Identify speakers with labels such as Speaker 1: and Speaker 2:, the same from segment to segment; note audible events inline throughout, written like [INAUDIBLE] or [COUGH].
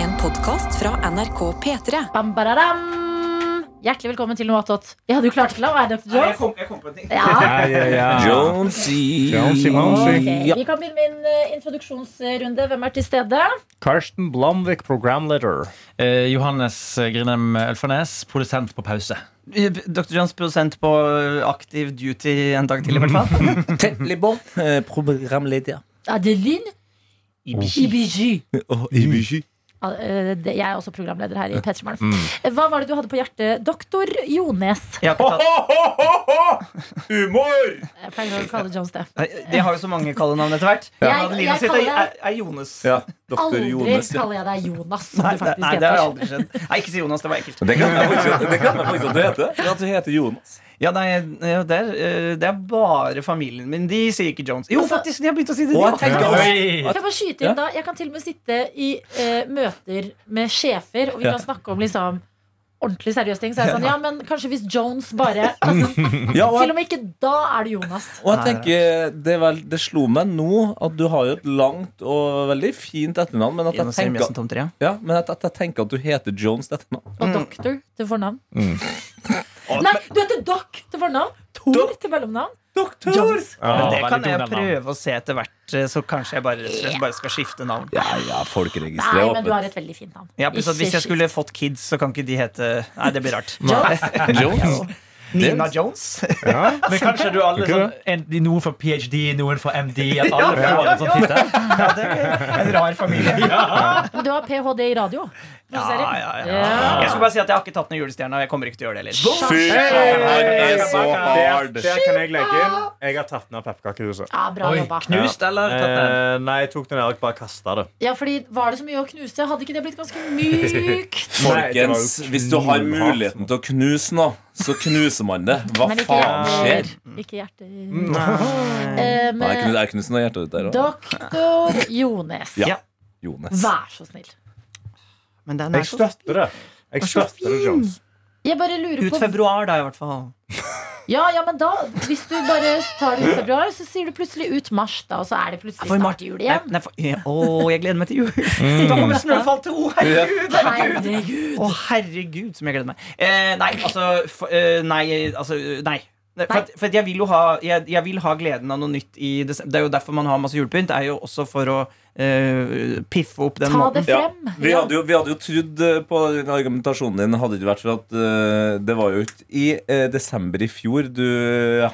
Speaker 1: En podkast fra NRK P3.
Speaker 2: Bam, bararam. Hjertelig velkommen til noe attåt. Ja, du klarte ikke å la være Dr.
Speaker 3: Nei, Jeg
Speaker 2: Jones?
Speaker 3: kom, jeg kom på en ting.
Speaker 2: Ja.
Speaker 4: Ja, ja, ja.
Speaker 5: Jonesy.
Speaker 4: Jonesy, Jonesy.
Speaker 2: Ok, Vi kan begynne med en eh, introduksjonsrunde. Hvem er til stede?
Speaker 4: Karsten Blomvik, programleder.
Speaker 6: Eh, Johannes Grinem Ølfarnes, produsent på pause.
Speaker 3: Dr. Johns produsent på aktiv duty en dag til, i hvert
Speaker 5: [LAUGHS]
Speaker 3: fall.
Speaker 5: Tett Libon, eh, programleder.
Speaker 2: Adeline Ibishi.
Speaker 5: Oh, Ibishi.
Speaker 2: Ja, eh, det- Jeg er også programleder her i P3 Morgen.
Speaker 4: Mm.
Speaker 5: Mm.
Speaker 2: Eh, Hva var det du hadde på hjertet, doktor Jones?
Speaker 3: Jeg har ikke tatt,
Speaker 4: Humor!
Speaker 2: Jeg pleier å kalle Jones det.
Speaker 3: Nei, de har jo så mange kallenavn etter hvert.
Speaker 2: Ja.
Speaker 3: Adelina
Speaker 2: Jeg- jeg
Speaker 3: sitt er,
Speaker 2: kaller-
Speaker 3: er, er Jones.
Speaker 5: Ja, doktor
Speaker 2: Aldri
Speaker 5: Jones. ja.
Speaker 2: kaller jeg deg Jonas, som
Speaker 3: Nei,
Speaker 2: du
Speaker 3: det,
Speaker 2: faktisk
Speaker 3: nei, det har
Speaker 2: heter.
Speaker 3: aldri skjedd. Nei, ikke si Jonas, det var ekkelt.
Speaker 5: Det kan jeg faktisk det kan jeg faktisk at du heter. Ja, du heter Jonas.
Speaker 3: Ja, nei, ja, det, er, eh, det er bare familien min. De sier ikke Jones. Jo,
Speaker 2: Altså-
Speaker 3: faktisk, de har begynt å si det. de
Speaker 5: Å,
Speaker 3: også.
Speaker 5: tenk om.
Speaker 2: Kan jeg bare skyte
Speaker 5: Ja.
Speaker 2: inn da? Jeg kan til og med sitte i eh, møter med sjefer, og vi
Speaker 5: Ja.
Speaker 2: kan snakke om liksom ordentlig seriøse ting. Så er det sånn, ja, men kanskje hvis Jones bare altså,
Speaker 5: [LAUGHS]
Speaker 4: Mm.
Speaker 5: Ja, og
Speaker 2: Til [LAUGHS]
Speaker 5: jeg,
Speaker 2: og med ikke da er det Jonas.
Speaker 5: og jeg tenker, det, er vel, det slo meg nå at du har jo et langt og veldig fint etternavn, men at jeg
Speaker 3: Jonas sier mest om
Speaker 5: tenker,
Speaker 3: Tom Trea.
Speaker 5: ja, men at, at jeg tenker at du heter Jones til etternavn.
Speaker 2: Og Doctor til fornavn.
Speaker 5: Mm.
Speaker 2: [LAUGHS] Nei, du heter Doc til fornavn. Tor til mellomnavn. Jones.
Speaker 4: Ja,
Speaker 3: Men
Speaker 5: Ah,
Speaker 3: det
Speaker 4: veldig
Speaker 3: kan jeg
Speaker 4: tungt, den, da.
Speaker 3: prøve å se etter hvert, eh, så kanskje jeg bare, rett og slett bare skal skifte navn.
Speaker 5: Ja, ja, folkeregisteret
Speaker 2: Nei,
Speaker 5: er
Speaker 2: men du
Speaker 5: åpent.
Speaker 2: har et veldig fint navn.
Speaker 3: Ja, pluss at Hvis jeg skulle fått kids, så kan ikke de hete Nei, det blir rart.
Speaker 2: [LAUGHS] Jones.
Speaker 5: Jones?
Speaker 3: Nina Jones? [LAUGHS]
Speaker 6: Men kanskje du alle
Speaker 4: Ikke
Speaker 6: sånn, en, Noen får ph.d., noen får md. At alle får en sånn tittel.
Speaker 3: Ja, det er en rar familie.
Speaker 2: [LAUGHS] Men du har ph.d. i radio.
Speaker 3: Ja, ja, ja.
Speaker 2: Ja.
Speaker 3: Jeg skulle bare si at jeg har ikke tatt ned julestjerna. og Jeg kommer ikke til å gjøre det heller.
Speaker 5: Fy faen, han er så hard.
Speaker 4: Der, der kan jeg legge inn. Jeg har tatt ned pepperkakehuset.
Speaker 2: Ja, bra jobba.
Speaker 3: Knust eller tatt ned?
Speaker 4: Eh, nei, jeg tok den Erik bare kasta det.
Speaker 2: Ja, fordi Var det så mye å knuse? Hadde ikke det blitt ganske mykt?
Speaker 5: Folkens,
Speaker 4: Nei, det var jo
Speaker 5: hvis du har
Speaker 4: knallhardt.
Speaker 5: muligheten til å knuse noe, så knuser man det. Hva
Speaker 2: Men ikke
Speaker 5: faen skjer?
Speaker 2: hjerter. Ikke hjerter.
Speaker 3: Mm.
Speaker 2: Eh,
Speaker 5: Nei, jeg
Speaker 2: men
Speaker 5: knus- jeg knuser noe hjertet ditt der òg.
Speaker 2: doktor Jones,
Speaker 5: Ja. Jones.
Speaker 2: vær så snill.
Speaker 3: Men den
Speaker 4: Jeg
Speaker 3: er så
Speaker 4: støtter det. Jeg støtter det, Jones.
Speaker 2: Jeg bare lurer
Speaker 3: Ut
Speaker 2: på
Speaker 3: februar, da, i hvert fall.
Speaker 2: Ja, ja, men da, hvis du bare tar
Speaker 5: [LAUGHS]
Speaker 2: det ut februar, så sier du plutselig ut mars, da, og så er det plutselig snart jul
Speaker 3: Nei,
Speaker 2: igjen.
Speaker 3: nei, for, eh, å, jeg gleder meg til jul.
Speaker 4: Mm.
Speaker 3: Da kommer Snøfall 2. Herregud!
Speaker 2: Herregud.
Speaker 3: Å, herregud, som jeg gleder meg. Eh, nei, altså f eh, Nei. Altså, nei. Nei, For, at, for at jeg, vil jo ha, jeg, jeg vil ha gleden av noe nytt i desember. Det er jo derfor man har masse julepynt. Det er jo også for å eh, piffe opp den
Speaker 2: Ta
Speaker 3: måten.
Speaker 2: det frem.
Speaker 5: Ja. Vi, hadde jo, vi hadde jo trodd eh, på den argumentasjonen din, hadde det ikke vært for at eh, det var jo ikke i eh, desember i fjor du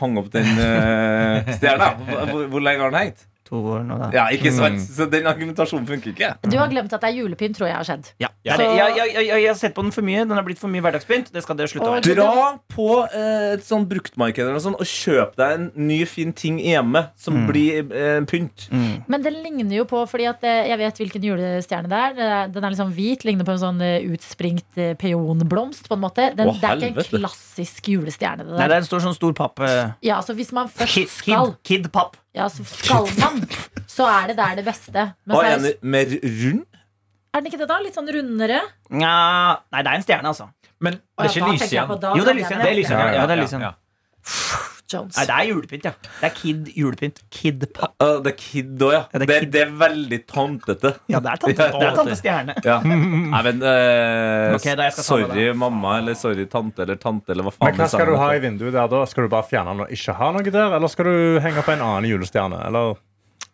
Speaker 5: hang opp den
Speaker 3: [LAUGHS]
Speaker 5: eh, [LAUGHS] stjerna. Hvor, hvor- hvor lenge har den hengt?
Speaker 3: To år nå, da. Mm.
Speaker 5: Ja, ikke sant? Så den argumentasjonen funker ikke.
Speaker 2: Du har glemt at det er julepynt, tror jeg har skjedd.
Speaker 3: Ja.
Speaker 2: Ja.
Speaker 3: Eller, Jeg, jeg, jeg, jeg har sett på den for mye. Den har blitt for mye hverdagspynt. Det skal dere slutte å
Speaker 2: Og-
Speaker 3: være.
Speaker 5: Dra på eh, et sånn bruktmarked eller noe sånt, og kjøp deg en ny, fin ting hjemme som
Speaker 3: Mm.
Speaker 5: blir eh, pynt.
Speaker 2: Men den ligner jo på, fordi at eh, jeg vet hvilken julestjerne det er. Det er- Den er liksom hvit, ligner på en sånn eh, utspringt eh, peonblomst, på en måte. Den,
Speaker 5: Å,
Speaker 2: det er ikke
Speaker 5: helvete.
Speaker 2: en klassisk julestjerne, det
Speaker 3: Nei,
Speaker 2: der.
Speaker 3: det er en stor sånn stor papp eh,
Speaker 2: Ja, så hvis man
Speaker 3: Kid,
Speaker 2: først
Speaker 3: kid,
Speaker 2: skal,
Speaker 3: kid papp.
Speaker 2: ja, så skal man, så er det der det beste. Men
Speaker 5: Og
Speaker 2: så er,
Speaker 5: en mer rund.
Speaker 2: er den ikke det, da? Litt sånn rundere?
Speaker 3: Nja Nei, det er en stjerne, altså.
Speaker 6: Men det er
Speaker 2: Ja,
Speaker 6: ikke
Speaker 2: da
Speaker 6: lys
Speaker 2: tenker jeg
Speaker 6: igjen.
Speaker 2: på da-
Speaker 3: Jo, det er
Speaker 2: da
Speaker 3: lys
Speaker 2: blir
Speaker 3: igjen.
Speaker 2: jeg
Speaker 3: Det er lys igjen,
Speaker 2: nesten-
Speaker 3: ja. det er lys igjen.
Speaker 2: Jones.
Speaker 3: Nei, det er julepynt, ja. Det er kid julepynt. Kid papp.
Speaker 5: Ja, det er Kid òg, ja.
Speaker 3: Ja,
Speaker 5: Det,
Speaker 3: det er
Speaker 5: det,
Speaker 3: Kid.
Speaker 5: er veldig tomtete.
Speaker 3: Ja, det er tante, det er tante stjerne. [LAUGHS]
Speaker 5: Ja. Nei, men eh,
Speaker 3: Ok, da, jeg skal ta med
Speaker 5: Sorry, mamma, eller sorry, tante, eller tante, eller hva faen.
Speaker 4: Men hva
Speaker 5: vi sa
Speaker 4: skal du
Speaker 5: nå.
Speaker 4: ha i vinduet der, da? Skal du bare fjerne den og ikke ha noe der? Eller skal du henge opp en annen julestjerne? Eller?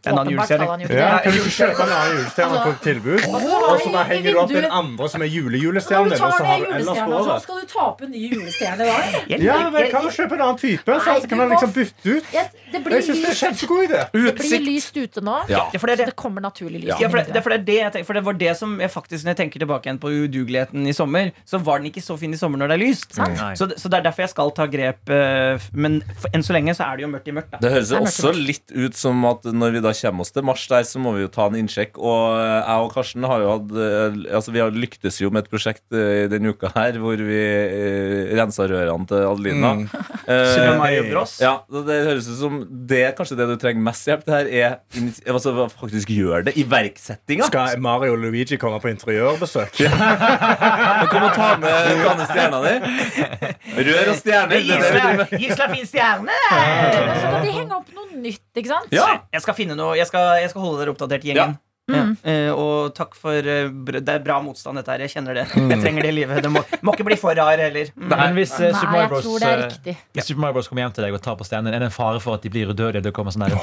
Speaker 3: En annen
Speaker 2: Åpenbart skal
Speaker 3: julestjerne.
Speaker 2: han jo ikke
Speaker 4: Ja,
Speaker 2: det.
Speaker 4: kan du ikke kjøpe en annen
Speaker 2: altså,
Speaker 4: julestjerne på tilbud? Og så bare henger du opp den andre som er
Speaker 2: Når
Speaker 4: julejulestjernen
Speaker 2: du
Speaker 4: din, og
Speaker 2: tar ned
Speaker 4: så har du ellers på
Speaker 2: julestjerna, så
Speaker 4: året.
Speaker 2: skal du ta på en ny julestjerne da? eller?
Speaker 3: Jeg
Speaker 4: Ja,
Speaker 3: liker-
Speaker 4: men kan du kjøpe en annen type, så
Speaker 2: Nei,
Speaker 4: altså, kan
Speaker 2: du
Speaker 4: du
Speaker 2: må-
Speaker 4: liksom bytte ut?
Speaker 2: Jeg- Det blir
Speaker 4: Jeg syns det er
Speaker 2: lyst,
Speaker 4: kjempegod idé.
Speaker 2: det blir lyst ute nå.
Speaker 5: Ja.
Speaker 3: Ja, for det er
Speaker 2: Så
Speaker 3: det.
Speaker 2: det kommer naturlig lys.
Speaker 3: Ja, for det, det, er for det, er det jeg tenker, for det var det som jeg faktisk Når jeg tenker tilbake igjen på udugeligheten i sommer, så var den ikke så fin i sommer når det er lyst.
Speaker 2: Sant.
Speaker 6: Nei.
Speaker 3: Så, det- så det er derfor jeg skal ta grep. eh, f- Men for, enn så lenge så er det jo mørkt i mørkt. Da.
Speaker 5: Det høres jo
Speaker 2: Det er mørkt
Speaker 5: også litt ut som at når vi da kommer oss til mars der, så må vi jo ta en innsjekk. Og eh, jeg og Karsten har jo hatt eh, Altså, vi har lyktes jo med et prosjekt eh, denne uka her hvor vi eh, rensa rørene til Adelina.
Speaker 4: Mm.
Speaker 5: [LAUGHS] Eh,
Speaker 3: Super Mario Bros.
Speaker 5: ja, så det høres ut som det er kanskje det du trenger mest hjelp til her, er initi- altså, faktisk gjør det. Iverksettinga.
Speaker 4: Skal Mario og Luigi komme på interiørbesøk?
Speaker 5: Men Kom og ta med, ta med stjerna di. Rør og stjerner. Det er det vi driver med.
Speaker 3: Gisle Gisle er fin stjerne!
Speaker 2: Men så kan de henge opp noe nytt, ikke sant?
Speaker 5: Ja.
Speaker 3: Jeg skal finne noe Jeg skal, jeg skal holde dere oppdatert,
Speaker 5: Ja.
Speaker 3: gjengen.
Speaker 2: Mm.
Speaker 3: Eh, og takk for eh, br- Det er bra motstand, dette her. Jeg kjenner det.
Speaker 2: Mm.
Speaker 3: Jeg trenger det i livet. Det må, må ikke bli for rar heller. Mm.
Speaker 6: Men hvis eh, Super
Speaker 2: Nei,
Speaker 6: Mario
Speaker 2: jeg
Speaker 6: Bros
Speaker 2: tror det er
Speaker 6: eh,
Speaker 2: riktig.
Speaker 6: Hvis Super Mario Bros kommer hjem til deg og tar på steinen, er det en fare for at de blir udødelige? Det kommer sånn der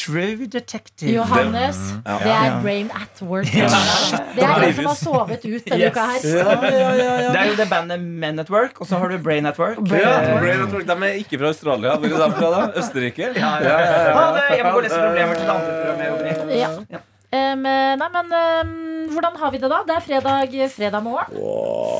Speaker 3: True detective.
Speaker 2: Johannes, det er brain at work. Det er en som har sovet ut denne uka her.
Speaker 3: Det er jo det bandet Men at Work, og så har du Brain at Work.
Speaker 2: Brain
Speaker 5: Ja,
Speaker 2: at
Speaker 3: Eh,
Speaker 5: Brain at Work. De er ikke fra Australia. Hvor er de fra, da? Østerrike? Ja, ja,
Speaker 3: Ha det! Jeg må gå og lese problemer til det andre programmet. jeg jobber i.
Speaker 2: Ja. Em, nei, men em, hvordan har vi det da? Det er fredag, fredag morgen.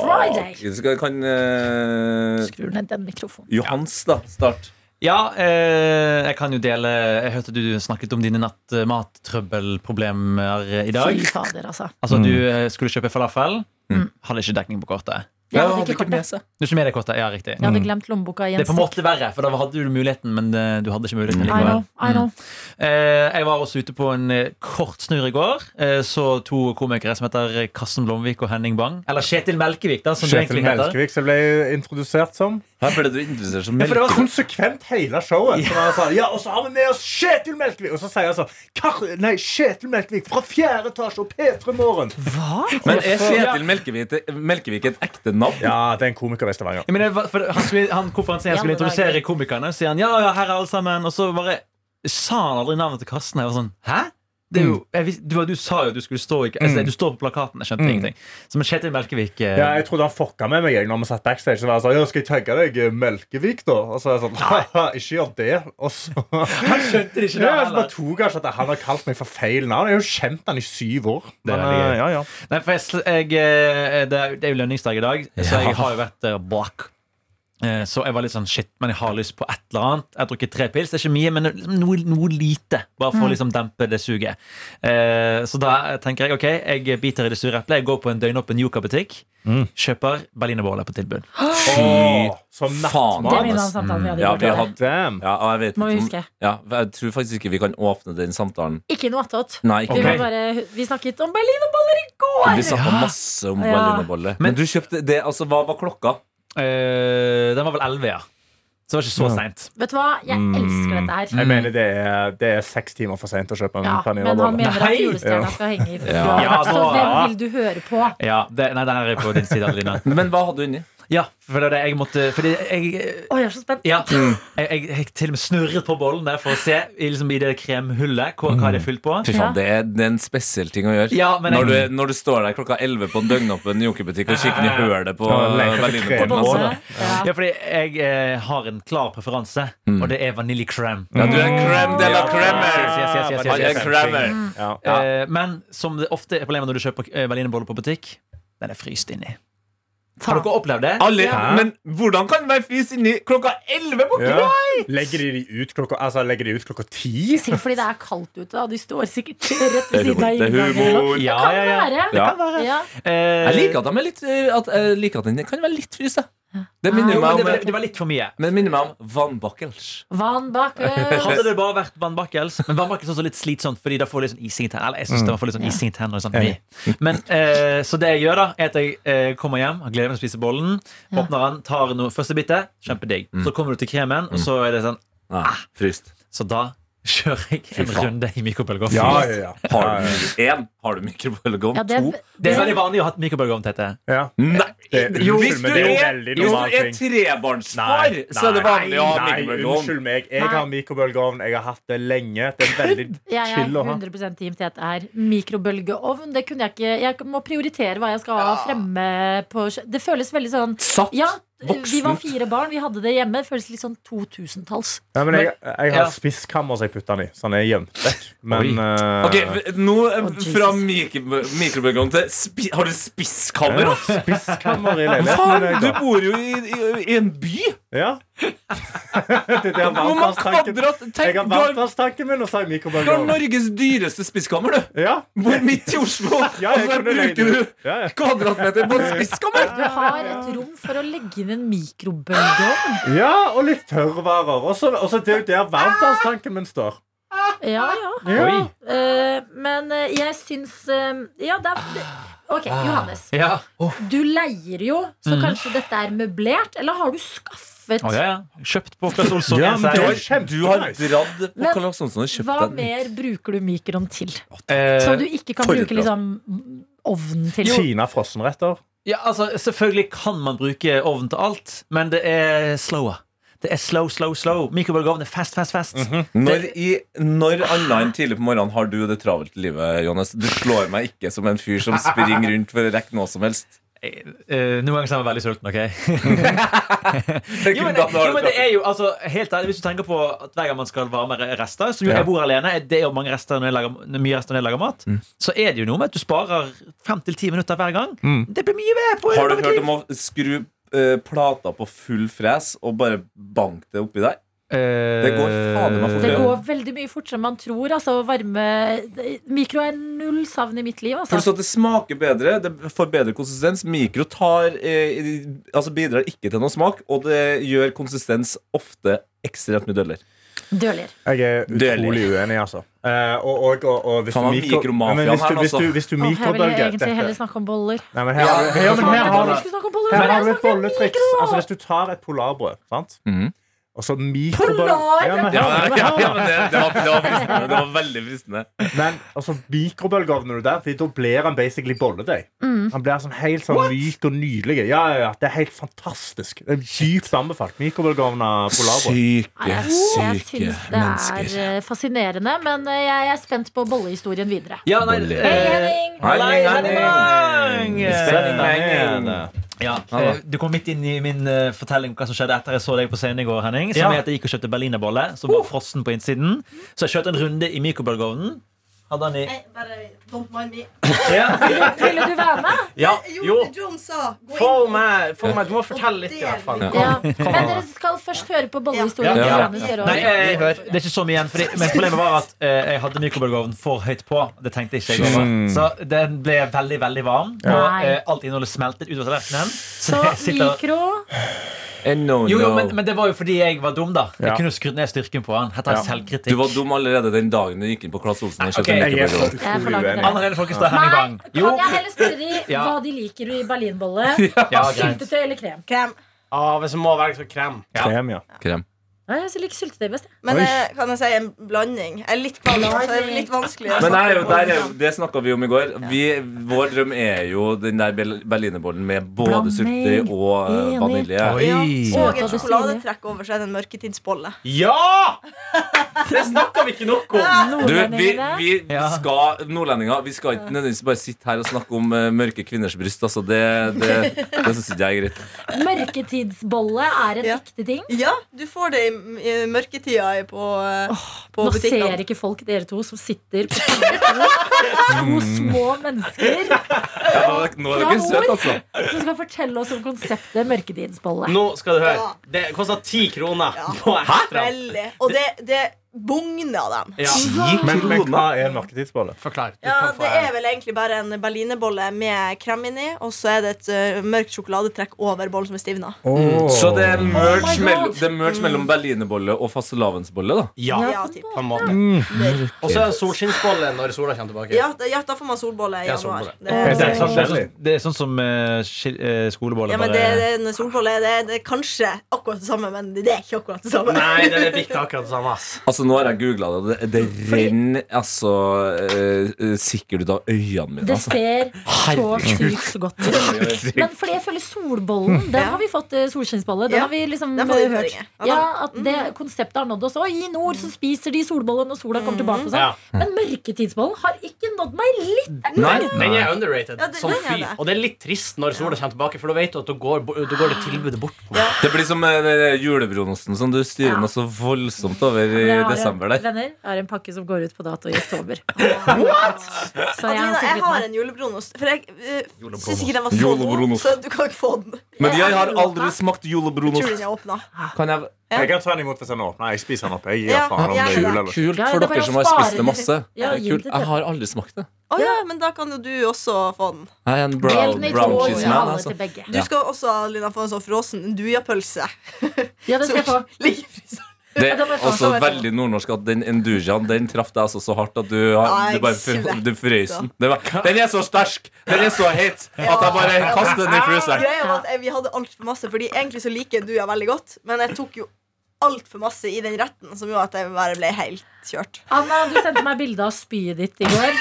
Speaker 2: Friday.
Speaker 5: Skal, kan eh,
Speaker 2: Skrur ned den mikrofonen.
Speaker 5: Johans, da, start.
Speaker 6: Ja, eh, jeg kan jo dele Jeg hørte du snakket om dine nattmattrøbbelproblemer i dag.
Speaker 2: Fy fader, altså.
Speaker 4: Mm.
Speaker 6: Altså,
Speaker 5: Mm.
Speaker 6: du eh, skulle kjøpe falafel. Hadde ikke dekning på kortet.
Speaker 2: Jeg hadde ikke kortet.
Speaker 6: Du er ikke med det kortet? Ja, riktig.
Speaker 5: Mm.
Speaker 4: Mm.
Speaker 2: Jeg hadde glemt lommeboka i
Speaker 6: Det
Speaker 2: en
Speaker 6: er på en
Speaker 2: sekk.
Speaker 6: måte verre, for da hadde du muligheten, men eh, du hadde ikke
Speaker 4: Mm.
Speaker 6: muligheten
Speaker 2: I know,
Speaker 6: likevel.
Speaker 2: I know.
Speaker 6: Eh, Jeg var også ute på en eh, kort snurr i går. Eh, Så to komikere som heter eh, Karsten Blomvik og Henning Bang. Eller Kjetil Melkevik, da, som det
Speaker 4: Kjetil
Speaker 6: egentlig heter.
Speaker 4: Melkevik, som ble introdusert som.
Speaker 5: Her ble du interessert som
Speaker 4: Ja, for det var
Speaker 5: melk.
Speaker 4: konsekvent hele showet. Så han sa, ja, Og så har vi med oss Kjetil Melkevik! Og så sier han sånn Kar Nei, Kjetil Melkevik fra fjerde etasje og P3 Morgen.
Speaker 5: Men er Kjetil Melkevik, Melkevik et ekte navn?
Speaker 4: Ja, det er en komiker i Stavanger.
Speaker 6: Ja, men det var- for han skulle, han, konferansieren skulle
Speaker 2: Ja, men det er
Speaker 6: introdusere komikerne. Sier han ja, ja, her er alle sammen. Og så bare sa han aldri navnet til Karsten. Jeg var sånn, hæ? Det
Speaker 4: Mm.
Speaker 6: er jo, jeg, vis- du, du sa jo at du skulle stå ikke, altså, Du står på plakaten. Jeg skjønte ingenting. Som Kjetil Melkevik. eh,
Speaker 4: Ja, jeg trodde han fucka med meg jeg, når vi satt backstage. Så var jeg sånn, ja, skal jeg tagge deg eh, Melkevik, da? Og så er jeg sånn, haha, ikke gjør det. Og så
Speaker 6: [LAUGHS]
Speaker 4: Han skjønte
Speaker 6: det ikke da,
Speaker 4: ja, så
Speaker 6: heller.
Speaker 4: bare tok han ikke at han har kalt meg for feil navn. Jeg har jo kjent han i syv år.
Speaker 6: Det er
Speaker 4: Men,
Speaker 6: veldig
Speaker 4: eh,
Speaker 6: gøy.
Speaker 4: ja, ja.
Speaker 6: Nei, for jeg, sl- jeg, eh, det, er, det er jo lønningsdag i dag, så jeg har jo vært eh, blakk. Eh, Så jeg var litt sånn shit, men jeg har lyst på et eller annet. Jeg har drukket tre pils. Det er ikke mye, men liksom noe, noe lite. Bare for å liksom dempe det suget. Eh, Så da tenker jeg ok, jeg biter i det sure eplet. Jeg går på en døgnåpen Yuka-butikk.
Speaker 5: Mm.
Speaker 6: Kjøper berlinerboller på tilbud.
Speaker 4: Åh, Som
Speaker 5: faen.
Speaker 4: nattmat.
Speaker 2: Det minner om samtalen vi hadde i
Speaker 5: Ja,
Speaker 2: går,
Speaker 5: vi
Speaker 2: Tore.
Speaker 5: hadde
Speaker 4: Damn.
Speaker 5: ja, og jeg vet
Speaker 2: Må vi
Speaker 5: ikke om-
Speaker 2: huske.
Speaker 5: Ja, for jeg tror faktisk ikke vi kan åpne den samtalen.
Speaker 2: Ikke noe attåt.
Speaker 5: Nei, ikke
Speaker 2: Vi, må
Speaker 5: vi.
Speaker 2: bare, vi snakket om berlinerboller i går!
Speaker 5: Vi snakka masse om
Speaker 2: Ja.
Speaker 5: berlinerbolle. Men,
Speaker 6: Men-
Speaker 5: du kjøpte det, altså, hva var klokka?
Speaker 6: Eh, Den var vel 11, ja. Så det var ikke så seint.
Speaker 2: Vet du hva? Jeg
Speaker 5: Mm.
Speaker 2: elsker dette her.
Speaker 4: Jeg mener det er, det er seks timer for seint å kjøpe en
Speaker 2: Ja, men han
Speaker 4: panirabolle.
Speaker 2: mener at
Speaker 6: Nei.
Speaker 2: julestjerna
Speaker 4: Ja.
Speaker 2: skal henge i
Speaker 5: Ja.
Speaker 6: Ja,
Speaker 2: Så
Speaker 6: nå-
Speaker 2: hvem vil du høre på?
Speaker 6: Ja, det- nei, den her er på din side, Adeline.
Speaker 5: [LAUGHS] Men hva hadde du inni?
Speaker 6: Ja, for det var det jeg måtte Fordi jeg
Speaker 2: Å, jeg er så spent.
Speaker 6: Ja.
Speaker 5: Mm.
Speaker 6: Jeg, jeg, jeg til og med snurret på bollen der for å se i, liksom, i det kremhullet hva, hva det er fylt på.
Speaker 5: Fy
Speaker 2: Ja.
Speaker 5: faen, det, er, det er en spesiell ting å gjøre.
Speaker 6: Ja, men jeg-
Speaker 5: når, du, når du står der klokka 11 på en døgnåpen jokerbutikk og kikker ned i hølet på
Speaker 4: Ja, leker etter
Speaker 5: berlinerbollen.
Speaker 4: krem.
Speaker 5: Altså.
Speaker 2: Bonde. Ja.
Speaker 6: Ja, fordi jeg eh, har en klar preferanse, og det er
Speaker 5: Mm.
Speaker 6: vaniljekrem.
Speaker 5: Ja, du er en crème de la crème.
Speaker 6: Yes, yes, yes, yes,
Speaker 5: Han er
Speaker 6: yes.
Speaker 5: cremmer.
Speaker 4: Ja.
Speaker 6: Eh, men som det ofte er problemet når du kjøper eh, berlinerboller på butikk, den er fryst inni. Har dere opplevd det?
Speaker 5: Alle,
Speaker 4: Ja.
Speaker 5: men hvordan kan det være fis inni klokka 11 på
Speaker 4: Ja.
Speaker 5: kvelden?
Speaker 4: Legger de de ut klokka Altså, legger de ut klokka ti?
Speaker 2: Sikkert fordi det er kaldt ute, og de står sikkert rett ved siden av
Speaker 5: Det er humor.
Speaker 2: inngangen. eller noe.
Speaker 6: Ja,
Speaker 2: Kan
Speaker 6: ja, ja.
Speaker 2: være.
Speaker 5: Ja.
Speaker 2: Ja.
Speaker 6: Eh,
Speaker 5: Jeg liker at de er litt eh, at, jeg liker at den kan være litt fryst. jeg. Det minner
Speaker 6: jo, men
Speaker 5: meg
Speaker 6: det,
Speaker 5: om,
Speaker 6: var- det var litt for mye.
Speaker 5: men det minner meg om vannbakkels.
Speaker 2: Van
Speaker 4: [LAUGHS]
Speaker 2: Bakkels.
Speaker 6: Hadde det bare vært vannbakkels Men vannbakkels er også litt slitsomt, Fordi da
Speaker 3: liksom
Speaker 6: får du litt sånn ising i tennene. Eller jeg
Speaker 5: Mm.
Speaker 6: synes det var for litt sånn ising i tennene og sånn. Men, eh, Så det jeg gjør, da er at jeg eh, kommer hjem, har gleden av å spise bollen, åpner den, tar noe første bittet, kjempedigg. Så kommer du til kremen, og så er det sånn
Speaker 5: Nei, Mm. fryst.
Speaker 6: Så da kjører jeg en
Speaker 5: faen.
Speaker 6: runde i mikrobølgeovn.
Speaker 4: Ja, ja, ja.
Speaker 5: Har du en, har du mikrobølgeovn?
Speaker 2: Ja, det er,
Speaker 5: to?
Speaker 6: Det er veldig vanlig å ha et mikrobølgeovn, Tete.
Speaker 4: ja.
Speaker 5: Nei!
Speaker 4: Det- Jo,
Speaker 5: hvis du
Speaker 4: men
Speaker 5: er,
Speaker 4: det er jo
Speaker 5: hvis
Speaker 4: veldig
Speaker 5: du
Speaker 4: normal
Speaker 5: er
Speaker 4: ting.
Speaker 5: trebarnsfar, så er det vanlig å ha
Speaker 4: nei,
Speaker 5: mikrobølgeovn.
Speaker 4: unnskyld meg. Jeg har mikrobølgeovn. Jeg har hatt det lenge. Det er veldig
Speaker 2: [LAUGHS] jeg er
Speaker 4: chill å ha.
Speaker 2: 100 team Tete her. Mikrobølgeovn, det kunne jeg ikke Jeg må prioritere hva jeg skal ha fremme på kjø- Det føles veldig sånn
Speaker 5: Satt.
Speaker 2: Ja, vi
Speaker 5: Voksent.
Speaker 2: var fire barn, vi hadde det hjemme. Det føles litt sånn 2000-talls.
Speaker 4: Ja, men jeg, jeg har
Speaker 6: Ja.
Speaker 4: spiskammer som jeg putter den i. Sånn jeg gjemt vekk. Men eh,
Speaker 5: Ok, v- nå eh,
Speaker 2: Å, Oh, Jesus.
Speaker 5: fra mikro- mikrobølgeovn til spi, Har du spiskammer?
Speaker 4: ja,
Speaker 5: ass?
Speaker 4: Spiskammer i
Speaker 5: Faen,
Speaker 4: leiligheten.
Speaker 5: du
Speaker 4: min, jeg, da.
Speaker 5: bor jo i, i, i en by!
Speaker 4: Ja. [LAUGHS] Det der
Speaker 5: Hvor mange
Speaker 4: varmtvannstanken.
Speaker 5: kvadrat
Speaker 4: Jeg
Speaker 5: Tenk,
Speaker 4: har
Speaker 5: du har,
Speaker 4: varmtvannstanken min, og så har jeg
Speaker 5: du har
Speaker 4: mikrobølgeovn.
Speaker 5: Norges dyreste spiskammer, du!
Speaker 4: Ja.
Speaker 5: Bor midt i Oslo,
Speaker 4: Ja,
Speaker 5: og
Speaker 4: jeg
Speaker 5: så
Speaker 4: kunne leie
Speaker 5: bruker du
Speaker 4: det. Ja, ja.
Speaker 5: kvadratmeter på en spiskammer!
Speaker 2: Du har et rom for å legge inn en mikrobølgeovn.
Speaker 4: ja, og litt tørrvarer. Og så og så det er jo der varmtvannstanken min står.
Speaker 2: Ja, ja.
Speaker 4: Ja.
Speaker 2: Eh, men eh, jeg syns eh, Ja, det er det- Ok,
Speaker 5: Ah.
Speaker 2: Johannes.
Speaker 6: Ah. Ja.
Speaker 4: Mhm.
Speaker 2: Du leier jo, så kanskje dette er møblert? Eller har du skaffa skaffet.
Speaker 6: Å, ja, ja. Kjøpt på Klass Olsson.
Speaker 4: Ja, men det
Speaker 5: Du
Speaker 4: var
Speaker 5: har
Speaker 4: kjempenice.
Speaker 5: dratt på
Speaker 2: Men
Speaker 5: Karl Johan Olsson og kjøpt
Speaker 2: Hva
Speaker 5: den.
Speaker 2: mer bruker du mikroen til?
Speaker 6: Eh,
Speaker 2: Som du ikke kan
Speaker 5: forrige
Speaker 2: bruke liksom, ovnen til?
Speaker 4: Tina frossenretter.
Speaker 6: Ja, altså, Selvfølgelig kan man bruke ovn til alt, men det er slower. Det er slow, slow, slow. Mikrobølgeovn er fast, fast, fast.
Speaker 5: Mm-hmm. Når, i, når annet enn tidlig på morgenen har du det travelt i livet, Johannes? Du slår meg ikke som en fyr som springer rundt for å rekke noe som helst.
Speaker 6: Eh, eh, noen ganger så er jeg veldig sulten,
Speaker 3: [LAUGHS]
Speaker 6: OK?
Speaker 5: Tenk
Speaker 6: jo, men,
Speaker 5: da når
Speaker 6: jo, men
Speaker 5: du-
Speaker 6: det er jo, altså, helt ærlig, Hvis du tenker på at hver gang man skal varme re- rester Som jo
Speaker 5: Ja.
Speaker 6: jeg bor alene, er det er jo mange rester når jeg lager, når mye rester når jeg lager mat.
Speaker 3: Mm.
Speaker 6: Så er det jo noe med at du sparer fem til ti minutter hver gang.
Speaker 3: Mm.
Speaker 6: Det blir mye ved. På,
Speaker 5: Har du
Speaker 6: på et
Speaker 5: hørt
Speaker 6: liv.
Speaker 5: om å skru eh, plata på full fres og bare banke det oppi deg? Det går fader meg fort.
Speaker 2: Det
Speaker 5: Ja.
Speaker 2: går veldig mye fortere enn man tror. Altså, varme Mikro er null savn i mitt liv. Altså.
Speaker 5: Pluss at det smaker bedre, det får bedre konsistens. Mikro tar, eh, altså bidrar ikke til noe smak, og det gjør konsistens ofte ekstremt mye døller.
Speaker 2: Døler.
Speaker 4: Jeg er
Speaker 5: Dølig.
Speaker 4: utrolig uenig, altså. Eh, og, og, og, og hvis,
Speaker 5: Faen, han
Speaker 4: du mikro,
Speaker 5: mikromafiaen
Speaker 4: men hvis, du,
Speaker 5: her,
Speaker 4: hvis, du,
Speaker 5: altså.
Speaker 4: hvis du
Speaker 2: Åh, jeg ville
Speaker 4: mikrodølger
Speaker 2: egentlig
Speaker 4: dette
Speaker 2: heller snakke om boller.
Speaker 4: Nei, men her, her, her,
Speaker 2: Faen,
Speaker 4: her
Speaker 2: jeg
Speaker 4: har
Speaker 2: trodde
Speaker 4: du
Speaker 2: vi skulle snakke om boller, men
Speaker 4: Her
Speaker 2: jeg
Speaker 4: har du et
Speaker 2: snakker om
Speaker 4: bolletriks.
Speaker 2: mikro.
Speaker 4: Altså, hvis du tar et polarbrød sant?
Speaker 5: Mhm.
Speaker 4: Og så mikrobøl...
Speaker 2: Polar?
Speaker 4: Ja, men, her, men, her,
Speaker 5: men det, det, var, det var fristende. Det var veldig fristende.
Speaker 4: men altså, mikrobølgeovner du der, Fordi da blir han basically bolledeig.
Speaker 2: Mm.
Speaker 4: Han blir sånn helt sånn myk og nydelig. Ja, ja, ja, Det er helt fantastisk. Det er Dypt anbefalt. Mikrobølgeovner polarbrød.
Speaker 2: Nei, Jeg,
Speaker 5: Syke,
Speaker 2: jeg
Speaker 5: syke
Speaker 2: syns det er
Speaker 5: mennesker.
Speaker 2: eh, fascinerende, men eh, jeg er spent på bollehistorien videre.
Speaker 6: Ja, nei,
Speaker 5: Bolle.
Speaker 2: Hei,
Speaker 6: eh,
Speaker 2: Henning!
Speaker 6: Hei,
Speaker 3: Mm.
Speaker 6: Henning!
Speaker 5: Henning!
Speaker 6: Eh, Ja, eh, Du kom midt inn i min eh, fortelling om hva som skjedde etter jeg så deg på scenen i går. Henning Som
Speaker 3: Ja. Uh.
Speaker 6: er at Jeg gikk og kjøpte berlinerbolle som var frossen på innsiden. Så jeg kjørte en runde i mikrobølgeovnen. Hadde han i
Speaker 7: Bare don't mind me.
Speaker 3: Ja.
Speaker 2: Ville du være med?
Speaker 3: ja. Jo.
Speaker 7: Jo, John sa gå inn.
Speaker 3: Få meg, få meg Du må fortelle litt, i hvert fall.
Speaker 7: Ja.
Speaker 2: Ja. Men dere skal først høre på bollehistorien.
Speaker 5: Ja.
Speaker 2: til
Speaker 5: Ja.
Speaker 2: Johannes Gjørov.
Speaker 6: Nei, eh, det er ikke så mye igjen. Fordi, men problemet var at eh, jeg hadde mikrobølgeovnen for høyt på. Det tenkte ikke jeg over. Så den ble veldig, veldig varm.
Speaker 2: Nei.
Speaker 6: Og eh, alt innholdet smeltet utover tallerkenen.
Speaker 2: Så
Speaker 6: [LAUGHS] jeg sitter-
Speaker 2: mikro
Speaker 5: Eh, No,
Speaker 6: Jo, jo,
Speaker 5: Oh, no.
Speaker 6: men, men det var jo fordi jeg var dum, da. Jeg
Speaker 4: Ja.
Speaker 6: kunne skrudd ned styrken på han. Her tar jeg
Speaker 5: Du
Speaker 6: selvkritikk.
Speaker 5: var dum allerede den dagen du gikk inn på Claes Olsen og
Speaker 6: Ok,
Speaker 5: kjøpte
Speaker 4: Jeg er så
Speaker 2: Jeg
Speaker 5: mikrobilder.
Speaker 2: er på
Speaker 4: utrolig
Speaker 2: lag med
Speaker 4: uenig.
Speaker 2: deg.
Speaker 6: Anna-Helene Folkestad,
Speaker 2: Nei,
Speaker 6: Henning Bang.
Speaker 2: kan
Speaker 6: Jo.
Speaker 2: jeg heller spørre de
Speaker 6: [LAUGHS] Ja.
Speaker 2: hva de liker i berlinbolle?
Speaker 6: Ja, greit.
Speaker 2: Syltetøy eller krem?
Speaker 7: Krem.
Speaker 3: Ah, hvis det må være så krem.
Speaker 4: Krem, ja.
Speaker 5: Krem.
Speaker 2: Nei, jeg liker syltetøy best. jeg.
Speaker 7: Men
Speaker 4: Oi.
Speaker 7: eh, kan jeg si en blanding? Jeg er litt kvalm, så det er litt vanskelig. altså. å
Speaker 5: Men
Speaker 7: snakke
Speaker 5: der, er jo-
Speaker 7: om
Speaker 5: der, er
Speaker 7: det.
Speaker 5: jo- det snakka vi om i går. Vi, vår drøm er jo den der bel- berlinerbollen med både
Speaker 2: Blanding.
Speaker 5: syltetøy og eh,
Speaker 2: Enig.
Speaker 5: vanilje.
Speaker 7: Ja,
Speaker 2: Søt
Speaker 7: Og
Speaker 2: og
Speaker 7: et
Speaker 2: det
Speaker 7: sjokoladetrekk over, så er det en mørketidsbolle.
Speaker 3: Ja! Det snakka vi ikke
Speaker 7: [LAUGHS]
Speaker 3: nok om.
Speaker 5: Du, vi,
Speaker 2: Nordlendingene.
Speaker 5: vi
Speaker 6: Ja.
Speaker 5: skal, nordlendinger, vi skal ikke nødvendigvis bare sitte her og snakke om eh, mørke kvinners bryst. Altså, det det, det syns ikke jeg er greit.
Speaker 2: Mørketidsbolle er en
Speaker 7: Ja.
Speaker 2: ekte ting.
Speaker 7: Ja, du får det i, i mørketida i- på, eh, på
Speaker 2: Nå ser
Speaker 7: butikkene.
Speaker 2: ikke folk dere to som sitter på sine to, to små mennesker
Speaker 5: Nå er dere søte, altså.
Speaker 2: som skal fortelle oss om konseptet mørketidsbolle.
Speaker 3: Nå skal du høre.
Speaker 7: Ja.
Speaker 3: Det koster ti kroner.
Speaker 7: Ja.
Speaker 3: På ekstra.
Speaker 7: Veldig. Og det, det bugner av dem.
Speaker 3: Ja.
Speaker 4: Men, men hva er en mørketidsbolle?
Speaker 3: Forklar. Du
Speaker 7: Ja,
Speaker 3: kan få
Speaker 7: Det
Speaker 3: æren.
Speaker 7: er vel egentlig bare en berlinerbolle med krem inni, og så er det et eh, mørkt sjokoladetrekk over bollen som er stivna.
Speaker 5: Så det er merge,
Speaker 2: Oh my
Speaker 5: mellom,
Speaker 2: God.
Speaker 5: det er merge mellom berlinerbolle og fastelavnsbolle, da.
Speaker 3: Ja,
Speaker 7: Ja, typ.
Speaker 3: på en måte.
Speaker 7: Mørk.
Speaker 3: Og så er det Mm. solskinnsbolle når sola kommer tilbake.
Speaker 7: Ja, da- ja, da får man solbolle i
Speaker 3: Ja,
Speaker 7: januar.
Speaker 3: solbolle.
Speaker 7: Det er-
Speaker 6: Det er, sånn, det, er
Speaker 4: Forskjellig.
Speaker 6: sånn, det er sånn som eh, skil- eh, skoleboller.
Speaker 7: Ja, men det,
Speaker 6: bare-
Speaker 7: det, når solbolle er det, det er kanskje akkurat det samme, men det er ikke akkurat det samme.
Speaker 3: Nei, det er ikke akkurat det samme. ass
Speaker 5: Altså, nå har jeg googla det, og det, det renner altså eh, eh, sikkert ut av øynene mine.
Speaker 2: Det
Speaker 5: Altså.
Speaker 2: ser så
Speaker 5: Herregud.
Speaker 2: sykt godt ut. [LAUGHS] Men fordi jeg føler solbollen, den har vi fått eh, solskinnsbolle. Den
Speaker 7: Ja,
Speaker 2: har vi liksom
Speaker 7: den får
Speaker 2: eh,
Speaker 7: vi
Speaker 2: hørt.
Speaker 7: utfordringer. Ja, Mm.
Speaker 2: Ja, at det konseptet har nådd oss. Og i nord så spiser de solbolle når sola kommer tilbake. Og
Speaker 3: Ja.
Speaker 2: sånn. Men mørketidsbollen har ikke nådd meg litt.
Speaker 5: Nei,
Speaker 3: Den er underrated
Speaker 7: Ja, det-
Speaker 3: som
Speaker 7: den er
Speaker 3: fy.
Speaker 7: det.
Speaker 3: Og det er litt trist når sola kommer tilbake, for da vet du at da går, bo- da går det tilbudet bort. på
Speaker 7: Ja.
Speaker 5: Det blir som uh, julebronosten som du styrer noe så voldsomt over i
Speaker 2: Jeg har en-
Speaker 5: desember der.
Speaker 2: Venner, jeg har en pakke som går ut på dato i
Speaker 7: [LAUGHS]
Speaker 2: oktober. Så jeg
Speaker 7: Adelina,
Speaker 2: har
Speaker 7: jeg
Speaker 2: sikret
Speaker 7: har
Speaker 2: meg.
Speaker 7: en julebronost. For jeg uh,
Speaker 6: Julebronost.
Speaker 7: syns ikke den var så god,
Speaker 5: Julebronost.
Speaker 7: så du kan ikke få den.
Speaker 5: Men jeg har
Speaker 2: Jeg
Speaker 5: aldri
Speaker 2: åpnet.
Speaker 5: smakt
Speaker 7: Tror den
Speaker 5: julebronost.
Speaker 7: er åpna.
Speaker 2: Ah.
Speaker 5: Kan jeg
Speaker 4: Jeg kan ta den imot hvis den åpner. Jeg spiser den opp. Jeg gir
Speaker 7: Ja,
Speaker 4: faen om det
Speaker 7: jeg
Speaker 4: er
Speaker 7: er
Speaker 4: jul
Speaker 7: det.
Speaker 4: eller
Speaker 5: Kult
Speaker 2: Ja,
Speaker 5: for
Speaker 2: det er bare
Speaker 5: dere som
Speaker 2: å
Speaker 5: har
Speaker 2: spare
Speaker 5: spist det masse.
Speaker 2: Ja,
Speaker 5: Det er
Speaker 2: gi det
Speaker 5: kult.
Speaker 2: til-
Speaker 5: Jeg har aldri smakt det.
Speaker 7: Å ja, men da kan jo du også få den.
Speaker 5: Jeg er en
Speaker 2: Del
Speaker 5: brown,
Speaker 2: den i to
Speaker 5: brown
Speaker 2: og
Speaker 5: cheese
Speaker 2: gi
Speaker 5: man.
Speaker 2: alle
Speaker 5: Altså.
Speaker 2: til begge.
Speaker 7: Du skal også Adelina, få en sånn frossen dujapølse.
Speaker 2: Ja, det skal jeg få.
Speaker 7: [LAUGHS] Ligger i fryseren.
Speaker 5: Det
Speaker 2: Ja,
Speaker 5: er
Speaker 2: det må jeg faen
Speaker 5: også
Speaker 2: meg vite.
Speaker 5: veldig nordnorsk at den endujaen den traff deg altså så hardt at du, har- du bare fr- du frøys den. Den var- Den er så sterk! Den er så het at jeg bare kaster den i fryseren.
Speaker 7: Greia var at eh, vi hadde altfor masse, Fordi egentlig så liker du ja veldig godt, men jeg tok jo altfor masse i den retten, som gjorde at jeg bare ble helt kjørt.
Speaker 2: Anna, du sendte meg bilde av spyet ditt i går.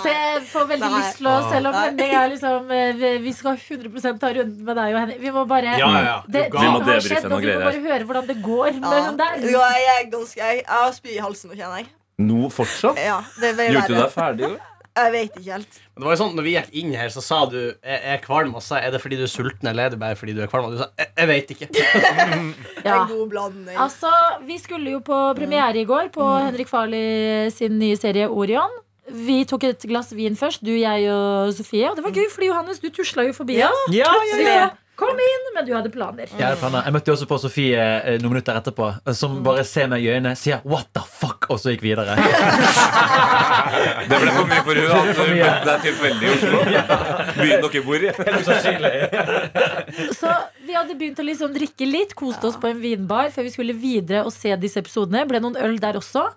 Speaker 2: Så jeg får veldig
Speaker 7: Nei.
Speaker 2: lyst til å,
Speaker 6: Ah.
Speaker 2: selv om det er liksom eh, vi- Vi skal 100 ta runden med deg og henne. Vi må bare
Speaker 6: Ja, ja, ja.
Speaker 2: Det,
Speaker 6: Du ga-
Speaker 2: ting
Speaker 5: Vi må
Speaker 2: har
Speaker 5: debrife
Speaker 2: skjedd,
Speaker 5: noen
Speaker 2: og vi
Speaker 5: greier
Speaker 2: må
Speaker 5: her.
Speaker 2: bare høre hvordan det går med
Speaker 7: Ja.
Speaker 2: hun der.
Speaker 7: Ja, jeg er ganske Jeg, jeg har spy i halsen nå, kjenner jeg.
Speaker 5: Nå fortsatt?
Speaker 7: Ja, det ble
Speaker 5: Gjorde du
Speaker 7: verre.
Speaker 5: deg ferdig? jo?
Speaker 7: Jeg vet ikke helt.
Speaker 8: Men Det var jo sånn, når vi gikk inn her, så sa du Er jeg kvalm? Og så sa jeg, er det fordi du er sulten, eller er det bare fordi du er kvalm? Og du sa jeg, jeg
Speaker 2: [LAUGHS]
Speaker 8: vet ikke. [LAUGHS]
Speaker 2: Ja.
Speaker 7: En god blanding. Mm.
Speaker 2: Altså, Vi skulle jo på premiere i går på Henrik Farley sin nye serie Orion. Vi tok et glass vin først, du, jeg og Sofie. Og det var
Speaker 7: Mm.
Speaker 2: gøy, fordi Johannes, du tusla jo forbi oss.
Speaker 6: Ja,
Speaker 2: Så vi sa, Kom inn, men du hadde planer.
Speaker 6: Jeg, hadde planer. jeg møtte jo også på Sofie eh, noen minutter etterpå, eh, som bare ser meg i øynene, sier 'what the fuck', og så gikk videre.
Speaker 5: Det ble for mye for henne. at hun møtte deg tilfeldig i Oslo. Byen dere bor i.
Speaker 2: Så vi hadde begynt å liksom drikke litt, koste oss på en vinbar før vi skulle videre og se disse episodene. Ble noen øl der også.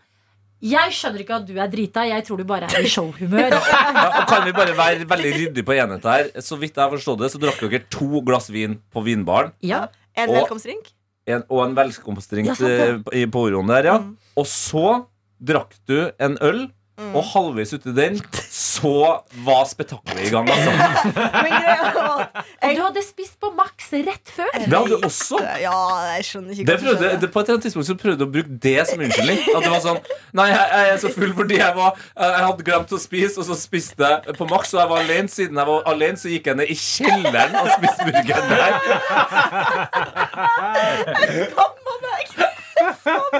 Speaker 2: Jeg skjønner ikke at du er drita. Jeg tror du bare er i
Speaker 7: [LAUGHS]
Speaker 2: showhumør.
Speaker 5: Ja, og kan vi bare være veldig ryddig på enhet her? Så vidt jeg har forstått det, så drakk dere to glass vin på vinbaren.
Speaker 2: Ja.
Speaker 7: En
Speaker 5: Og-
Speaker 7: velkomstdrink?
Speaker 5: en, og en velkomstdrink
Speaker 2: Ja, sant
Speaker 5: eh, i poroen der, ja.
Speaker 7: Mm.
Speaker 5: Og så drakk du en øl,
Speaker 7: Mm.
Speaker 5: og halvveis uti den så var spetakkelet i gang. Altså.
Speaker 7: Men greia var at
Speaker 2: Og du hadde spist på maks rett før.
Speaker 5: Det hadde du også.
Speaker 7: Ja, jeg skjønner
Speaker 5: Det
Speaker 7: ikke hva som
Speaker 5: prøvde,
Speaker 7: skjedde.
Speaker 5: det, på et eller annet tidspunkt så prøvde du å bruke det som unnskyldning. At det var sånn Nei, jeg, jeg er så full fordi jeg, var, jeg hadde glemt å spise, og så spiste jeg på maks, og jeg var alene. Siden jeg var alene, så gikk jeg ned i kjelleren og spiste burgeren der.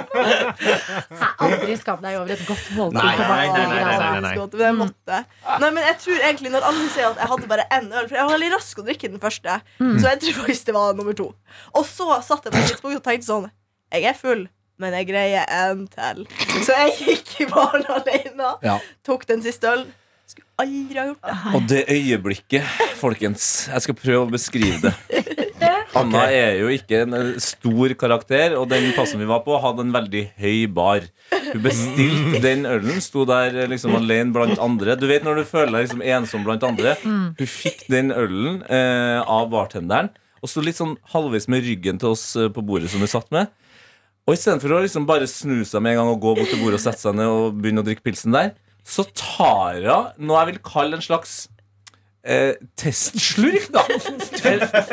Speaker 2: Nei, Aldri skam deg over et godt måltid.
Speaker 6: Nei,
Speaker 2: på
Speaker 6: nei,
Speaker 2: maks
Speaker 6: nei, nei, nei,
Speaker 2: rett.
Speaker 6: nei, nei.
Speaker 7: Faktisk godt, men jeg måtte. Nei, men jeg tror egentlig Når alle sier at jeg hadde bare én øl For jeg var veldig rask å drikke den første, så jeg tror faktisk det var nummer to. Og så satt jeg på et tidspunkt og tenkte sånn Jeg er full, men jeg greier en til. Så jeg gikk i baren alene,
Speaker 5: Ja.
Speaker 7: tok den siste ølen. Skulle aldri ha gjort det.
Speaker 5: Og det øyeblikket, folkens Jeg skal prøve å beskrive det. Anna er jo ikke en eh, stor karakter, og den plassen vi var på, hadde en veldig høy bar. Hun bestilte den ølen, sto der eh, liksom alene blant andre. Du vet når du føler deg liksom ensom blant andre. Hun fikk den ølen eh, av bartenderen, og sto litt sånn halvveis med ryggen til oss eh, på bordet som vi satt med. Og istedenfor å liksom bare snu seg med en gang og gå bort til bordet og sette seg ned og begynne å drikke pilsen der, så tar hun noe jeg vil kalle en slags eh, testslurk, da.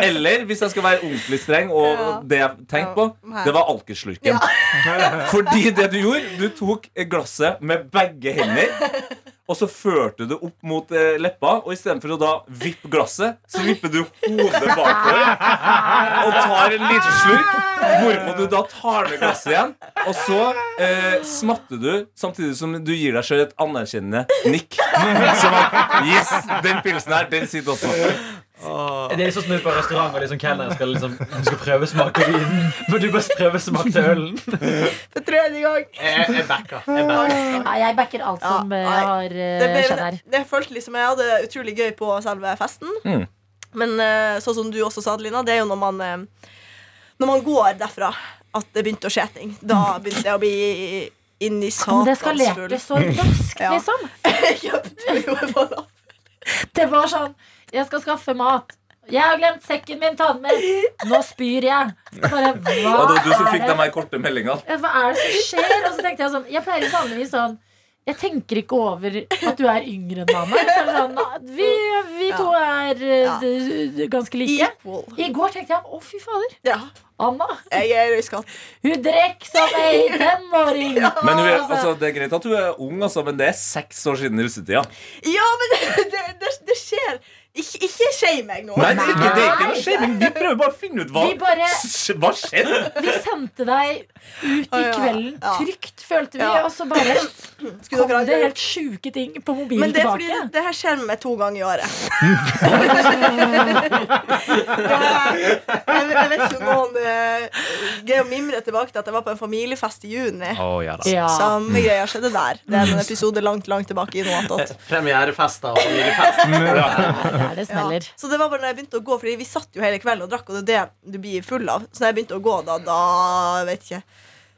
Speaker 5: Eller hvis jeg skal være ordentlig streng, og
Speaker 7: Ja.
Speaker 5: det jeg tenkte på,
Speaker 7: Ja.
Speaker 5: det var alkeslurken.
Speaker 2: [LAUGHS]
Speaker 5: Fordi det du gjorde, du tok glasset med begge hender. Og så førte du det opp mot eh, leppa, og istedenfor å da vippe glasset, så vipper du hodet bakover og tar en liten slurk. Hvorpå du da tar ned glasset igjen, og så eh, smatter du samtidig som du gir deg sjøl et anerkjennende nikk. Som at Yes, den pilsen her, den sitter også.
Speaker 6: Det er sånn som når du er på restaurant og liksom kelneren skal, liksom, du skal prøvesmake vinen. Men du bare prøvesmakte ølen.
Speaker 7: For tredje gang.
Speaker 8: Jeg, jeg backa. Jeg backa.
Speaker 2: Nei, jeg backer alt
Speaker 7: Ja,
Speaker 2: som eh,
Speaker 7: nei.
Speaker 2: har eh,
Speaker 7: Det,
Speaker 2: skjedd
Speaker 7: ble,
Speaker 2: her.
Speaker 7: det føltes liksom Jeg hadde utrolig gøy på selve festen.
Speaker 5: Mm.
Speaker 7: Men eh, sånn som du også sa, Adelina, det er jo når man, eh, når man går derfra at det begynte å skje ting. Da begynte jeg å bli inn
Speaker 2: Men
Speaker 7: i
Speaker 2: det
Speaker 7: satans full.
Speaker 2: eskalerte så raskt,
Speaker 7: Ja.
Speaker 2: liksom.
Speaker 7: Jeg kjøpte jo en falafel.
Speaker 2: Det var sånn Jeg skal skaffe mat. Jeg har glemt sekken min, ta den med. Nå spyr jeg. Bare, hva,
Speaker 5: Og det var du som
Speaker 2: er
Speaker 5: fikk
Speaker 2: det?
Speaker 5: de her korte meldingene.
Speaker 2: Ja, Hva er det som skjer? Og så tenkte jeg sånn Jeg pleier vanligvis sånn Jeg tenker ikke over at du er yngre enn mamma. Så er det sånn, vi, vi to er eh,
Speaker 7: Ja.
Speaker 2: d- ganske like.
Speaker 7: Equal.
Speaker 2: I går tenkte jeg å, fy fader.
Speaker 7: Ja,
Speaker 2: Anna.
Speaker 7: jeg er røyskatt.
Speaker 2: Hun drikker som ei tenåring.
Speaker 5: Men hun er, altså, det er greit at hun er ung, altså, men det er seks år siden russetida.
Speaker 7: Ja, men [LAUGHS] det, det, det, det skjer. Ikke, ikke shame meg nå.
Speaker 5: Nei, det er ikke, det er ikke noe shaming. Vi prøver bare å finne ut hva
Speaker 2: Vi bare-
Speaker 5: Hva skjedde?
Speaker 2: Vi sendte deg ut
Speaker 7: Å,
Speaker 2: i
Speaker 7: ja.
Speaker 2: kvelden
Speaker 7: Ja.
Speaker 2: trygt, følte vi.
Speaker 7: Ja.
Speaker 2: Og så bare
Speaker 7: Skulle
Speaker 2: kom
Speaker 7: dere ha
Speaker 2: det
Speaker 7: gjort-
Speaker 2: helt sjuke ting på mobilen
Speaker 7: Men det er fordi
Speaker 2: tilbake.
Speaker 7: det, det her skjer med meg to ganger i
Speaker 6: [LAUGHS]
Speaker 7: året. Ja, jeg, jeg, jeg vet ikke om noen eh, greier å mimre tilbake til at jeg var på en familiefest i juni.
Speaker 6: Oh, ja, da.
Speaker 2: Ja.
Speaker 7: Samme greia skjedde der. Det er en episode langt langt tilbake i noe annet.
Speaker 2: [LAUGHS]
Speaker 5: [LAUGHS]
Speaker 8: Premierefester og familiefest.
Speaker 2: der det smeller.
Speaker 7: Ja. Så det var bare når jeg begynte å gå, fordi vi satt jo hele kvelden og drakk, og det er det du blir full av. Så når jeg begynte å gå, da, da vet ikke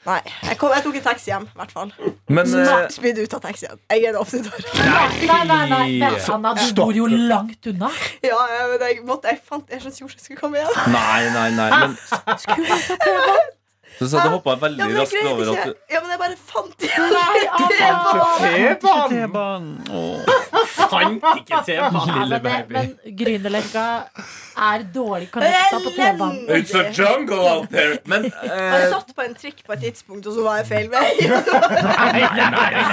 Speaker 7: Nei. Jeg, kom, jeg tok en taxi hjem, i hvert fall.
Speaker 5: Men eh,
Speaker 7: Spydde ut av taxien. Jeg er en oppsidår.
Speaker 2: Nei, nei, nei, vent, Anna, du bor jo langt unna.
Speaker 7: Ja, jeg, men jeg måtte Jeg fant en slags jord som skulle komme igjen.
Speaker 5: Nei, nei, nei. Men du sa du hoppa
Speaker 7: Ja,
Speaker 5: veldig
Speaker 7: men jeg
Speaker 5: raskt
Speaker 7: greide
Speaker 5: over
Speaker 7: ikke.
Speaker 5: at du
Speaker 7: Ja, men jeg bare fant igjen.
Speaker 2: Nei,
Speaker 7: [LAUGHS]
Speaker 2: Anna.
Speaker 4: T-banen!
Speaker 8: Fant ikke temaet,
Speaker 2: Nei,
Speaker 8: lille
Speaker 2: men det-
Speaker 8: baby.
Speaker 2: Men Grünerløkka er dårlig connecta på T-banen.
Speaker 5: It's a jungle out there! Men
Speaker 7: Jeg
Speaker 5: eh,
Speaker 7: satt på en trikk på et tidspunkt, og så var jeg feil vei.
Speaker 5: eh,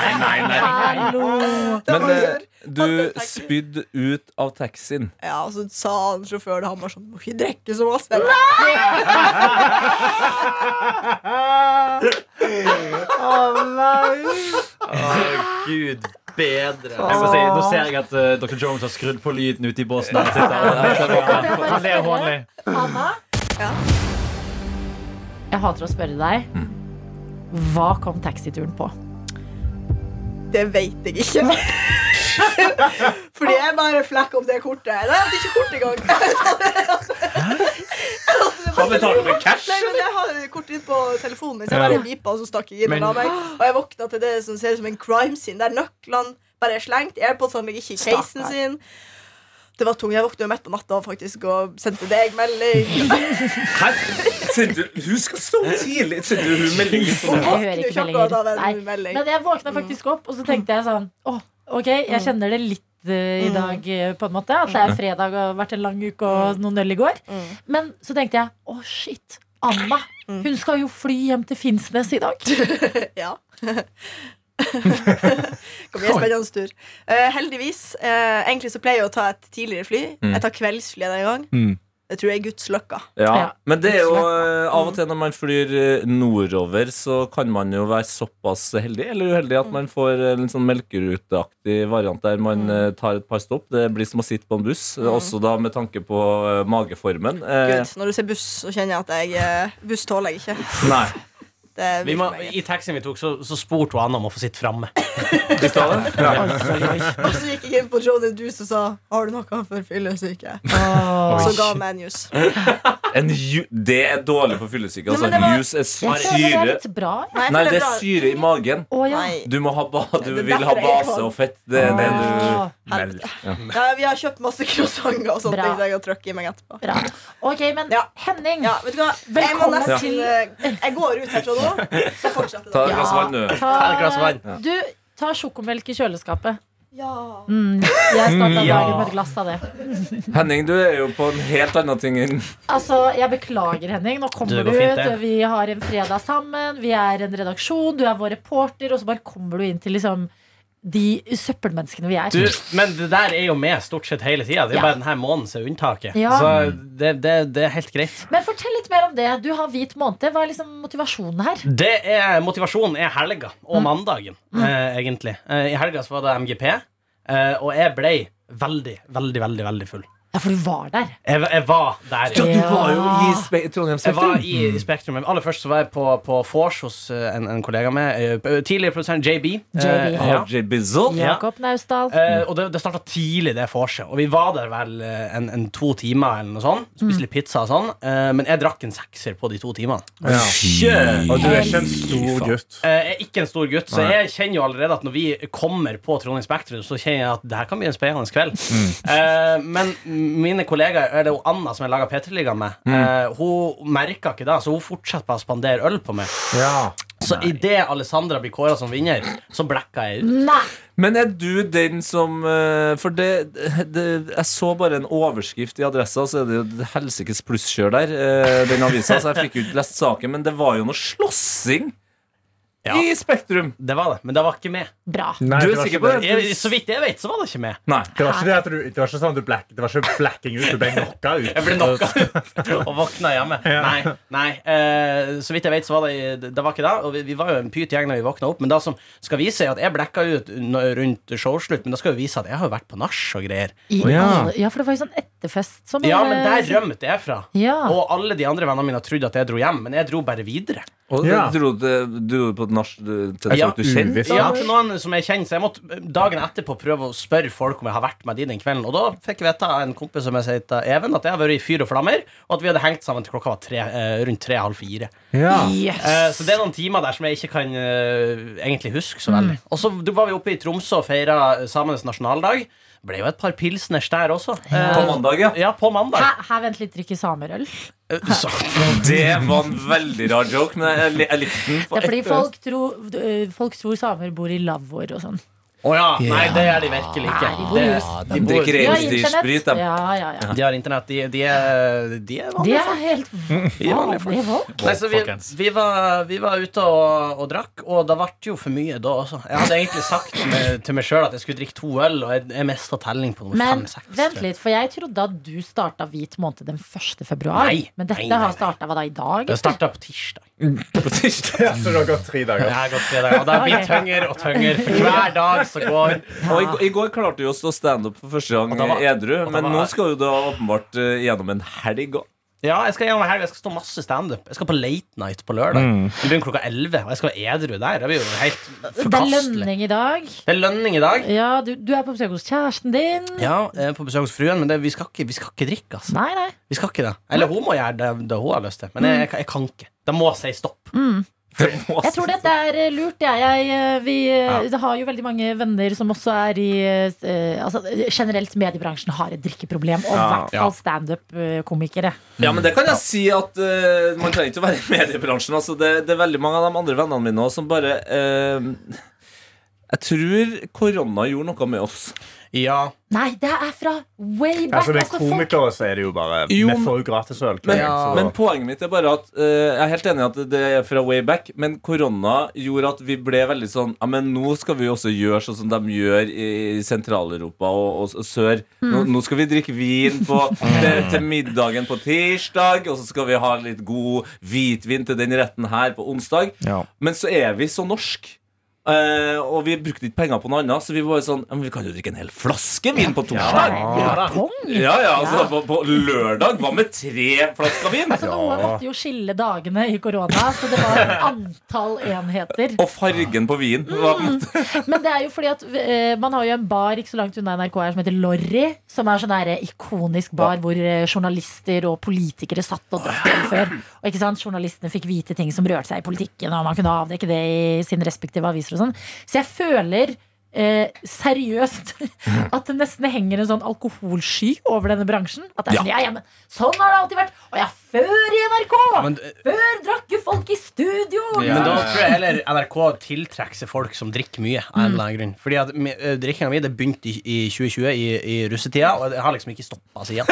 Speaker 2: Hallo!
Speaker 5: Men
Speaker 7: var
Speaker 5: eh,
Speaker 7: rør.
Speaker 5: du spydde ut av taxien.
Speaker 7: Ja, og så sa han sjåføren han var sånn Må ikke drikke så masse.
Speaker 8: Gud bedre.
Speaker 6: Jeg må si, nå ser jeg at eh, Dr. Jones har skrudd på lyden ute i båsen. Han sitter og- han sitter og-
Speaker 2: jeg bare
Speaker 6: han ler
Speaker 2: spørre?
Speaker 6: hånlig.
Speaker 2: Anna?
Speaker 7: Ja.
Speaker 2: Jeg hater å spørre deg. Hva kom taxituren på?
Speaker 7: Det vet jeg
Speaker 2: [LAUGHS]
Speaker 7: ikke. [LAUGHS] Fordi jeg bare flekker opp det kortet. Nei, jeg hadde ikke kort engang. Hva betalte du med cash? Nei, men Jeg hadde kortet ditt på telefonen min, så jeg bare vipa, og så stakk jeg inn den av meg. Og jeg våkna til det som ser ut som en crime scene, der nøklene bare er slengt. Airpodsene ligger ikke i casen sin. Det var tungt. Jeg våkna jo midt på natta faktisk og sendte deg melding.
Speaker 5: Hun skal stå tidlig! Sendte du hun melding?
Speaker 7: Og
Speaker 2: Jeg hører
Speaker 7: våkner
Speaker 2: ikke
Speaker 7: jo ikke akkurat av
Speaker 2: meldinger. Nei.
Speaker 7: en melding.
Speaker 2: Men jeg våkna faktisk opp, og så tenkte jeg sånn Åh, ok, jeg kjenner det litt
Speaker 7: Mm.
Speaker 2: eh, i dag, eh, på en måte. At det er fredag og har vært en lang uke
Speaker 7: Mm.
Speaker 2: og noen øl i går. Men så tenkte jeg åh, shit. Anna.
Speaker 7: Mm.
Speaker 2: Hun skal jo fly hjem til Finnsnes i dag.
Speaker 7: [LAUGHS] Ja. det blir en spennende tur. Eh, heldigvis. eh, egentlig så pleier jeg å ta et tidligere fly.
Speaker 5: Mm.
Speaker 7: Jeg tar kveldsfly denne gang.
Speaker 5: Hmm.
Speaker 4: Mm.
Speaker 7: Det tror jeg er Guds løkka.
Speaker 5: Ja,
Speaker 2: Ja.
Speaker 5: men det er jo eh, av og til når man flyr eh, nordover, så kan man jo være såpass heldig eller uheldig at man får eh, en sånn melkeruteaktig variant der man eh, tar et par stopp. Det blir som å sitte på en buss, eh, også da med tanke på eh, mageformen. Eh,
Speaker 7: Gud, når du ser buss, så kjenner jeg at jeg eh, Buss tåler jeg ikke.
Speaker 5: Nei.
Speaker 7: Det
Speaker 8: Vi
Speaker 7: vil
Speaker 8: må,
Speaker 7: for meg.
Speaker 8: I taxien vi tok, så, så spurte hun Anna om å få sitte framme.
Speaker 7: Og så gikk jeg inn på Johnny Deuce og sa Har du noe for fyllesyke. Og så ga han meg en juice.
Speaker 5: [LAUGHS] En ju det er dårlig for fyllesyke.
Speaker 7: Nei,
Speaker 5: Altså,
Speaker 7: men det var-
Speaker 5: juice er
Speaker 2: Jeg føler det er
Speaker 5: syre.
Speaker 2: litt bra.
Speaker 7: Nei, jeg
Speaker 5: Nei,
Speaker 7: føler
Speaker 5: det er
Speaker 7: bra.
Speaker 5: syre i magen.
Speaker 2: Å ja.
Speaker 7: Nei.
Speaker 5: Du må ha ba du
Speaker 7: Det er
Speaker 5: vil ha
Speaker 7: derfor jeg ikke
Speaker 5: base
Speaker 7: har-
Speaker 5: og fett. Det er det
Speaker 2: Åh.
Speaker 5: du
Speaker 7: Helvete.
Speaker 5: Ja.
Speaker 7: Ja, vi har kjøpt masse croissanter og sånne
Speaker 2: Bra.
Speaker 7: ting som jeg kan trykke i meg etterpå.
Speaker 2: Bra. Ok, men
Speaker 7: Ja.
Speaker 2: Henning.
Speaker 7: Ja, vet du hva? Jeg, må
Speaker 2: Velkommen
Speaker 7: nesten,
Speaker 2: til-
Speaker 7: eh, jeg går ut herfra nå, så fortsetter
Speaker 5: Ta et
Speaker 7: det.
Speaker 5: glass vann, du.
Speaker 8: Ta et glass vann.
Speaker 2: Du, ta sjokomelk i kjøleskapet.
Speaker 7: Ja.
Speaker 2: Mm, jeg starta dagen med et glass av det.
Speaker 5: Henning, du er jo på en helt annen ting enn
Speaker 2: Altså, Jeg beklager, Henning. Nå kommer
Speaker 8: Det
Speaker 2: du
Speaker 8: går fint,
Speaker 2: ut.
Speaker 8: det.
Speaker 2: og Vi har en fredag sammen. Vi er en redaksjon. Du er vår reporter. Og så bare kommer du inn til liksom de søppelmenneskene vi er.
Speaker 8: Du, men det der er jo med stort sett hele tida. Det er
Speaker 2: Ja.
Speaker 8: bare denne måneden som er unntaket.
Speaker 2: Ja.
Speaker 8: Så det, det, det er helt greit.
Speaker 2: Men fortell litt mer om det. Du har hvit måned. Hva er liksom motivasjonen her?
Speaker 8: Det er, motivasjonen er helga og mandagen, eh, egentlig. Eh, I helga så var det MGP, eh, og jeg ble veldig, veldig, veldig veldig full.
Speaker 2: Ja, for du var der.
Speaker 8: Jeg, var- jeg var der.
Speaker 2: du var jo i
Speaker 5: Trondheim
Speaker 8: Jeg var i, i Spektrum. Aller først så var jeg på, på vors hos eh, en, en kollega med. eh, Tidligere produsent JB.
Speaker 2: JB.
Speaker 8: Eh, ja.
Speaker 5: RJ Bizzle.
Speaker 8: Ja.
Speaker 2: Jakob Naustdal.
Speaker 8: Eh, og det, det starta tidlig, det vorset. Og vi var der vel eh, en, en to timer eller noe sånt. Spiste litt pizza og sånn. Eh, men jeg drakk en sekser på de to timene.
Speaker 4: Og du er ikke en stor gutt.
Speaker 8: Eh, jeg er ikke en stor gutt, så jeg kjenner jo allerede at når vi kommer på Trondheim Spektrum, så kjenner jeg at det her kan bli en spennende kveld.
Speaker 4: Mm.
Speaker 8: Eh, men mine kollegaer, eller hun Anna som jeg laga P3-liga med,
Speaker 4: Mm.
Speaker 8: eh, hun merka ikke det, så hun fortsatte bare å spandere øl på meg.
Speaker 4: [LAUGHS] Ja.
Speaker 8: Så idet Alessandra blir kåra som vinner, så blacka jeg ut.
Speaker 2: Nei!
Speaker 5: Men er du den som eh, For det, det Jeg så bare en overskrift i Adressa, så er det jo helsikes plusskjør der, eh, den avisa, så jeg fikk jo ikke lest saken, men det var jo noe slåssing
Speaker 8: Ja.
Speaker 5: i Spektrum.
Speaker 8: Det var det, men det var ikke med.
Speaker 2: Bra.
Speaker 4: Nei,
Speaker 5: Du er
Speaker 4: det var
Speaker 5: sikker
Speaker 4: ikke
Speaker 5: på
Speaker 4: det?
Speaker 5: det?
Speaker 8: Jeg, så vidt jeg vet, så var det ikke med.
Speaker 5: Nei.
Speaker 4: Det var ikke det at du Det var ikke sånn at du black, Det var ikke blacking ut, du ble knocka ut.
Speaker 8: Jeg ble knocka ut og våkna hjemme. Nei, nei eh, Så vidt jeg vet, så var det, det var ikke det. Og vi, vi var jo en pyt gjeng da vi våkna opp. Men det som skal vise, er at jeg blacka ut n- rundt showslutt. Men det skal jo vise at jeg har jo vært på nach og greier.
Speaker 2: I
Speaker 4: ja.
Speaker 2: alle, ja, for det var jo sånn et, etterfest. Som
Speaker 8: Ja,
Speaker 2: alle-
Speaker 8: men der rømte jeg fra.
Speaker 2: ja.
Speaker 8: Og alle de andre vennene mine trodde at jeg dro hjem, men jeg dro bare videre.
Speaker 5: Og
Speaker 4: Ja.
Speaker 5: du dro til, du dro på et nach til
Speaker 8: Ja,
Speaker 5: folk sånn du kjente?
Speaker 4: uvisst.
Speaker 8: Ja, til noen som jeg kjenner, så jeg måtte dagen etterpå prøve å spørre folk om jeg har vært med de den kvelden. Og da fikk jeg vite av en kompis som jeg heter Even, at jeg har vært i Fyr og flammer, og at vi hadde hengt sammen til klokka var tre, eh, rundt tre-halv fire.
Speaker 4: Ja.
Speaker 8: Eh, Så det er noen timer der som jeg ikke kan eh, egentlig huske så veldig.
Speaker 2: Mm.
Speaker 8: Og så var vi oppe i Tromsø og feira samenes nasjonaldag. Ble jo et par pilsners der også. Eh,
Speaker 5: På mandag, ja.
Speaker 8: Ja, på mandag.
Speaker 2: Her, her vent litt, drikke samerøl. Det
Speaker 8: Eh, Så,
Speaker 5: Det var en veldig rar joke, men jeg, li- jeg likte den. for
Speaker 2: er fordi
Speaker 5: ett øyeblikk.
Speaker 2: folk tror, øh, folk tror samer bor i lavvoer og sånn.
Speaker 8: Å ja. Nei, det er de virkelig ikke.
Speaker 2: Nei, de bor i hus.
Speaker 8: Det-
Speaker 5: De drikker
Speaker 2: De har
Speaker 5: reinsdyrsprit,
Speaker 2: internett.
Speaker 5: de.
Speaker 2: Ja, ja, ja.
Speaker 8: De har internett. De, de er, de er
Speaker 2: De
Speaker 8: vanlige
Speaker 2: er helt vanlige folk.
Speaker 8: Nei, så vi,
Speaker 6: Folkens.
Speaker 8: vi, var, vi var ute og, og drakk, og det ble jo for mye da også. Jeg hadde egentlig sagt med, til meg sjøl at jeg skulle drikke to øl, og jeg, jeg mista telling på nummer
Speaker 2: Men
Speaker 8: fem-seks.
Speaker 2: vent litt, for jeg trodde at du starta hvit måned den 1. februar.
Speaker 8: Nei,
Speaker 2: men
Speaker 8: nei,
Speaker 2: dette
Speaker 8: nei, nei.
Speaker 2: har starta hva da i dag?
Speaker 8: Det starta på
Speaker 4: [LAUGHS]
Speaker 8: tirsdag.
Speaker 4: Ja, så det har gått tre dager.
Speaker 8: Jeg har gått tre dager, og det blir
Speaker 2: Ok.
Speaker 8: tyngre og tyngre for hver dag som
Speaker 2: [LAUGHS]
Speaker 8: går.
Speaker 5: Og i, I går klarte vi å stå standup for første gang
Speaker 8: da var-
Speaker 5: edru,
Speaker 8: da
Speaker 5: men
Speaker 8: var-
Speaker 5: nå skal du da åpenbart eh, gjennom en helg òg.
Speaker 8: Ja, jeg skal gjennom helg. Jeg skal stå masse standup. Jeg skal på Late Night på lørdag. Det begynner klokka 11, og jeg skal være edru der. Det blir jo helt
Speaker 2: det er
Speaker 8: forkastelig.
Speaker 2: lønning i dag.
Speaker 8: Det er lønning i dag.
Speaker 2: Ja, du, du er på besøk hos kjæresten din.
Speaker 8: Ja, jeg er på besøk hos fruen, men det, vi, skal ikke, vi skal ikke drikke, altså.
Speaker 2: Nei, nei.
Speaker 8: Vi skal ikke det. Eller hun må gjøre det, det hun har lyst til. Men jeg, jeg, kan- jeg kan ikke. Det må si stopp.
Speaker 5: [LAUGHS]
Speaker 2: Jeg tror dette er eh, lurt. Jeg, jeg, eh, vi eh, det har jo veldig mange venner som også er i eh, altså, Generelt mediebransjen har et drikkeproblem, og i hvert fall eh, standup-komikere.
Speaker 5: Ja, men det kan jeg si at eh, man trenger ikke å være i mediebransjen. Altså, det, det er veldig mange av de andre vennene mine også som bare eh, Jeg tror korona gjorde noe med oss.
Speaker 8: Ja.
Speaker 2: Nei, det er fra way back!
Speaker 4: Altså, det er
Speaker 2: Altså, folk,
Speaker 4: komikere, så er det jo bare
Speaker 5: Jo,
Speaker 4: Vi får jo gratis øl.
Speaker 5: Men,
Speaker 8: Ja.
Speaker 5: men poenget mitt er bare at eh, Jeg er helt enig i at det er fra way back, men korona gjorde at vi ble veldig sånn Ja, men nå skal vi også gjøre sånn som de gjør i i Sentral-Europa og, og, s- sør. Nå,
Speaker 2: Mm.
Speaker 5: nå skal vi drikke vin på,
Speaker 4: [LAUGHS] Mm.
Speaker 5: til, til middagen på tirsdag, og så skal vi ha litt god hvitvin til den retten her på onsdag.
Speaker 4: Ja.
Speaker 5: Men så er vi så norsk. eh, og vi brukte ikke penger på noe annet, så vi var jo sånn ja, men Vi kan jo drikke en hel flaske vin på torsdag! Ja, ja, altså På, på lørdag, hva med tre flasker vin?
Speaker 2: altså, Noen måtte jo skille dagene i korona, så det var
Speaker 4: [LAUGHS]
Speaker 2: antall enheter.
Speaker 5: Og fargen på vin. Hva,
Speaker 2: Mm. Men det er jo fordi at eh, man har jo en bar ikke så langt unna NRK her som heter Lorry. Som er sånn der eh, ikonisk bar hvor eh, journalister og politikere satt og
Speaker 8: [GASPS]
Speaker 2: drakk øl før. Og ikke sant, Journalistene fikk vite ting som rørte seg i politikken, og man kunne avdekke det i sine respektive aviser og sånn. Så jeg føler eh, seriøst
Speaker 8: [LAUGHS]
Speaker 2: at det nesten henger en sånn alkoholsky over denne bransjen. At det er sånn, ja, ja, men sånn har det alltid vært. Og ja, før i NRK!
Speaker 8: Men, eh,
Speaker 2: Før drakk jo folk i studio! Liksom.
Speaker 8: men da tror jeg heller NRK tiltrekker seg folk som drikker mye. Av en eller annen grunn Fordi at mi- eh, drikkinga mi det begynte i, i 2020, i, i russetida, og det har liksom ikke stoppa
Speaker 5: [LAUGHS]
Speaker 8: siden.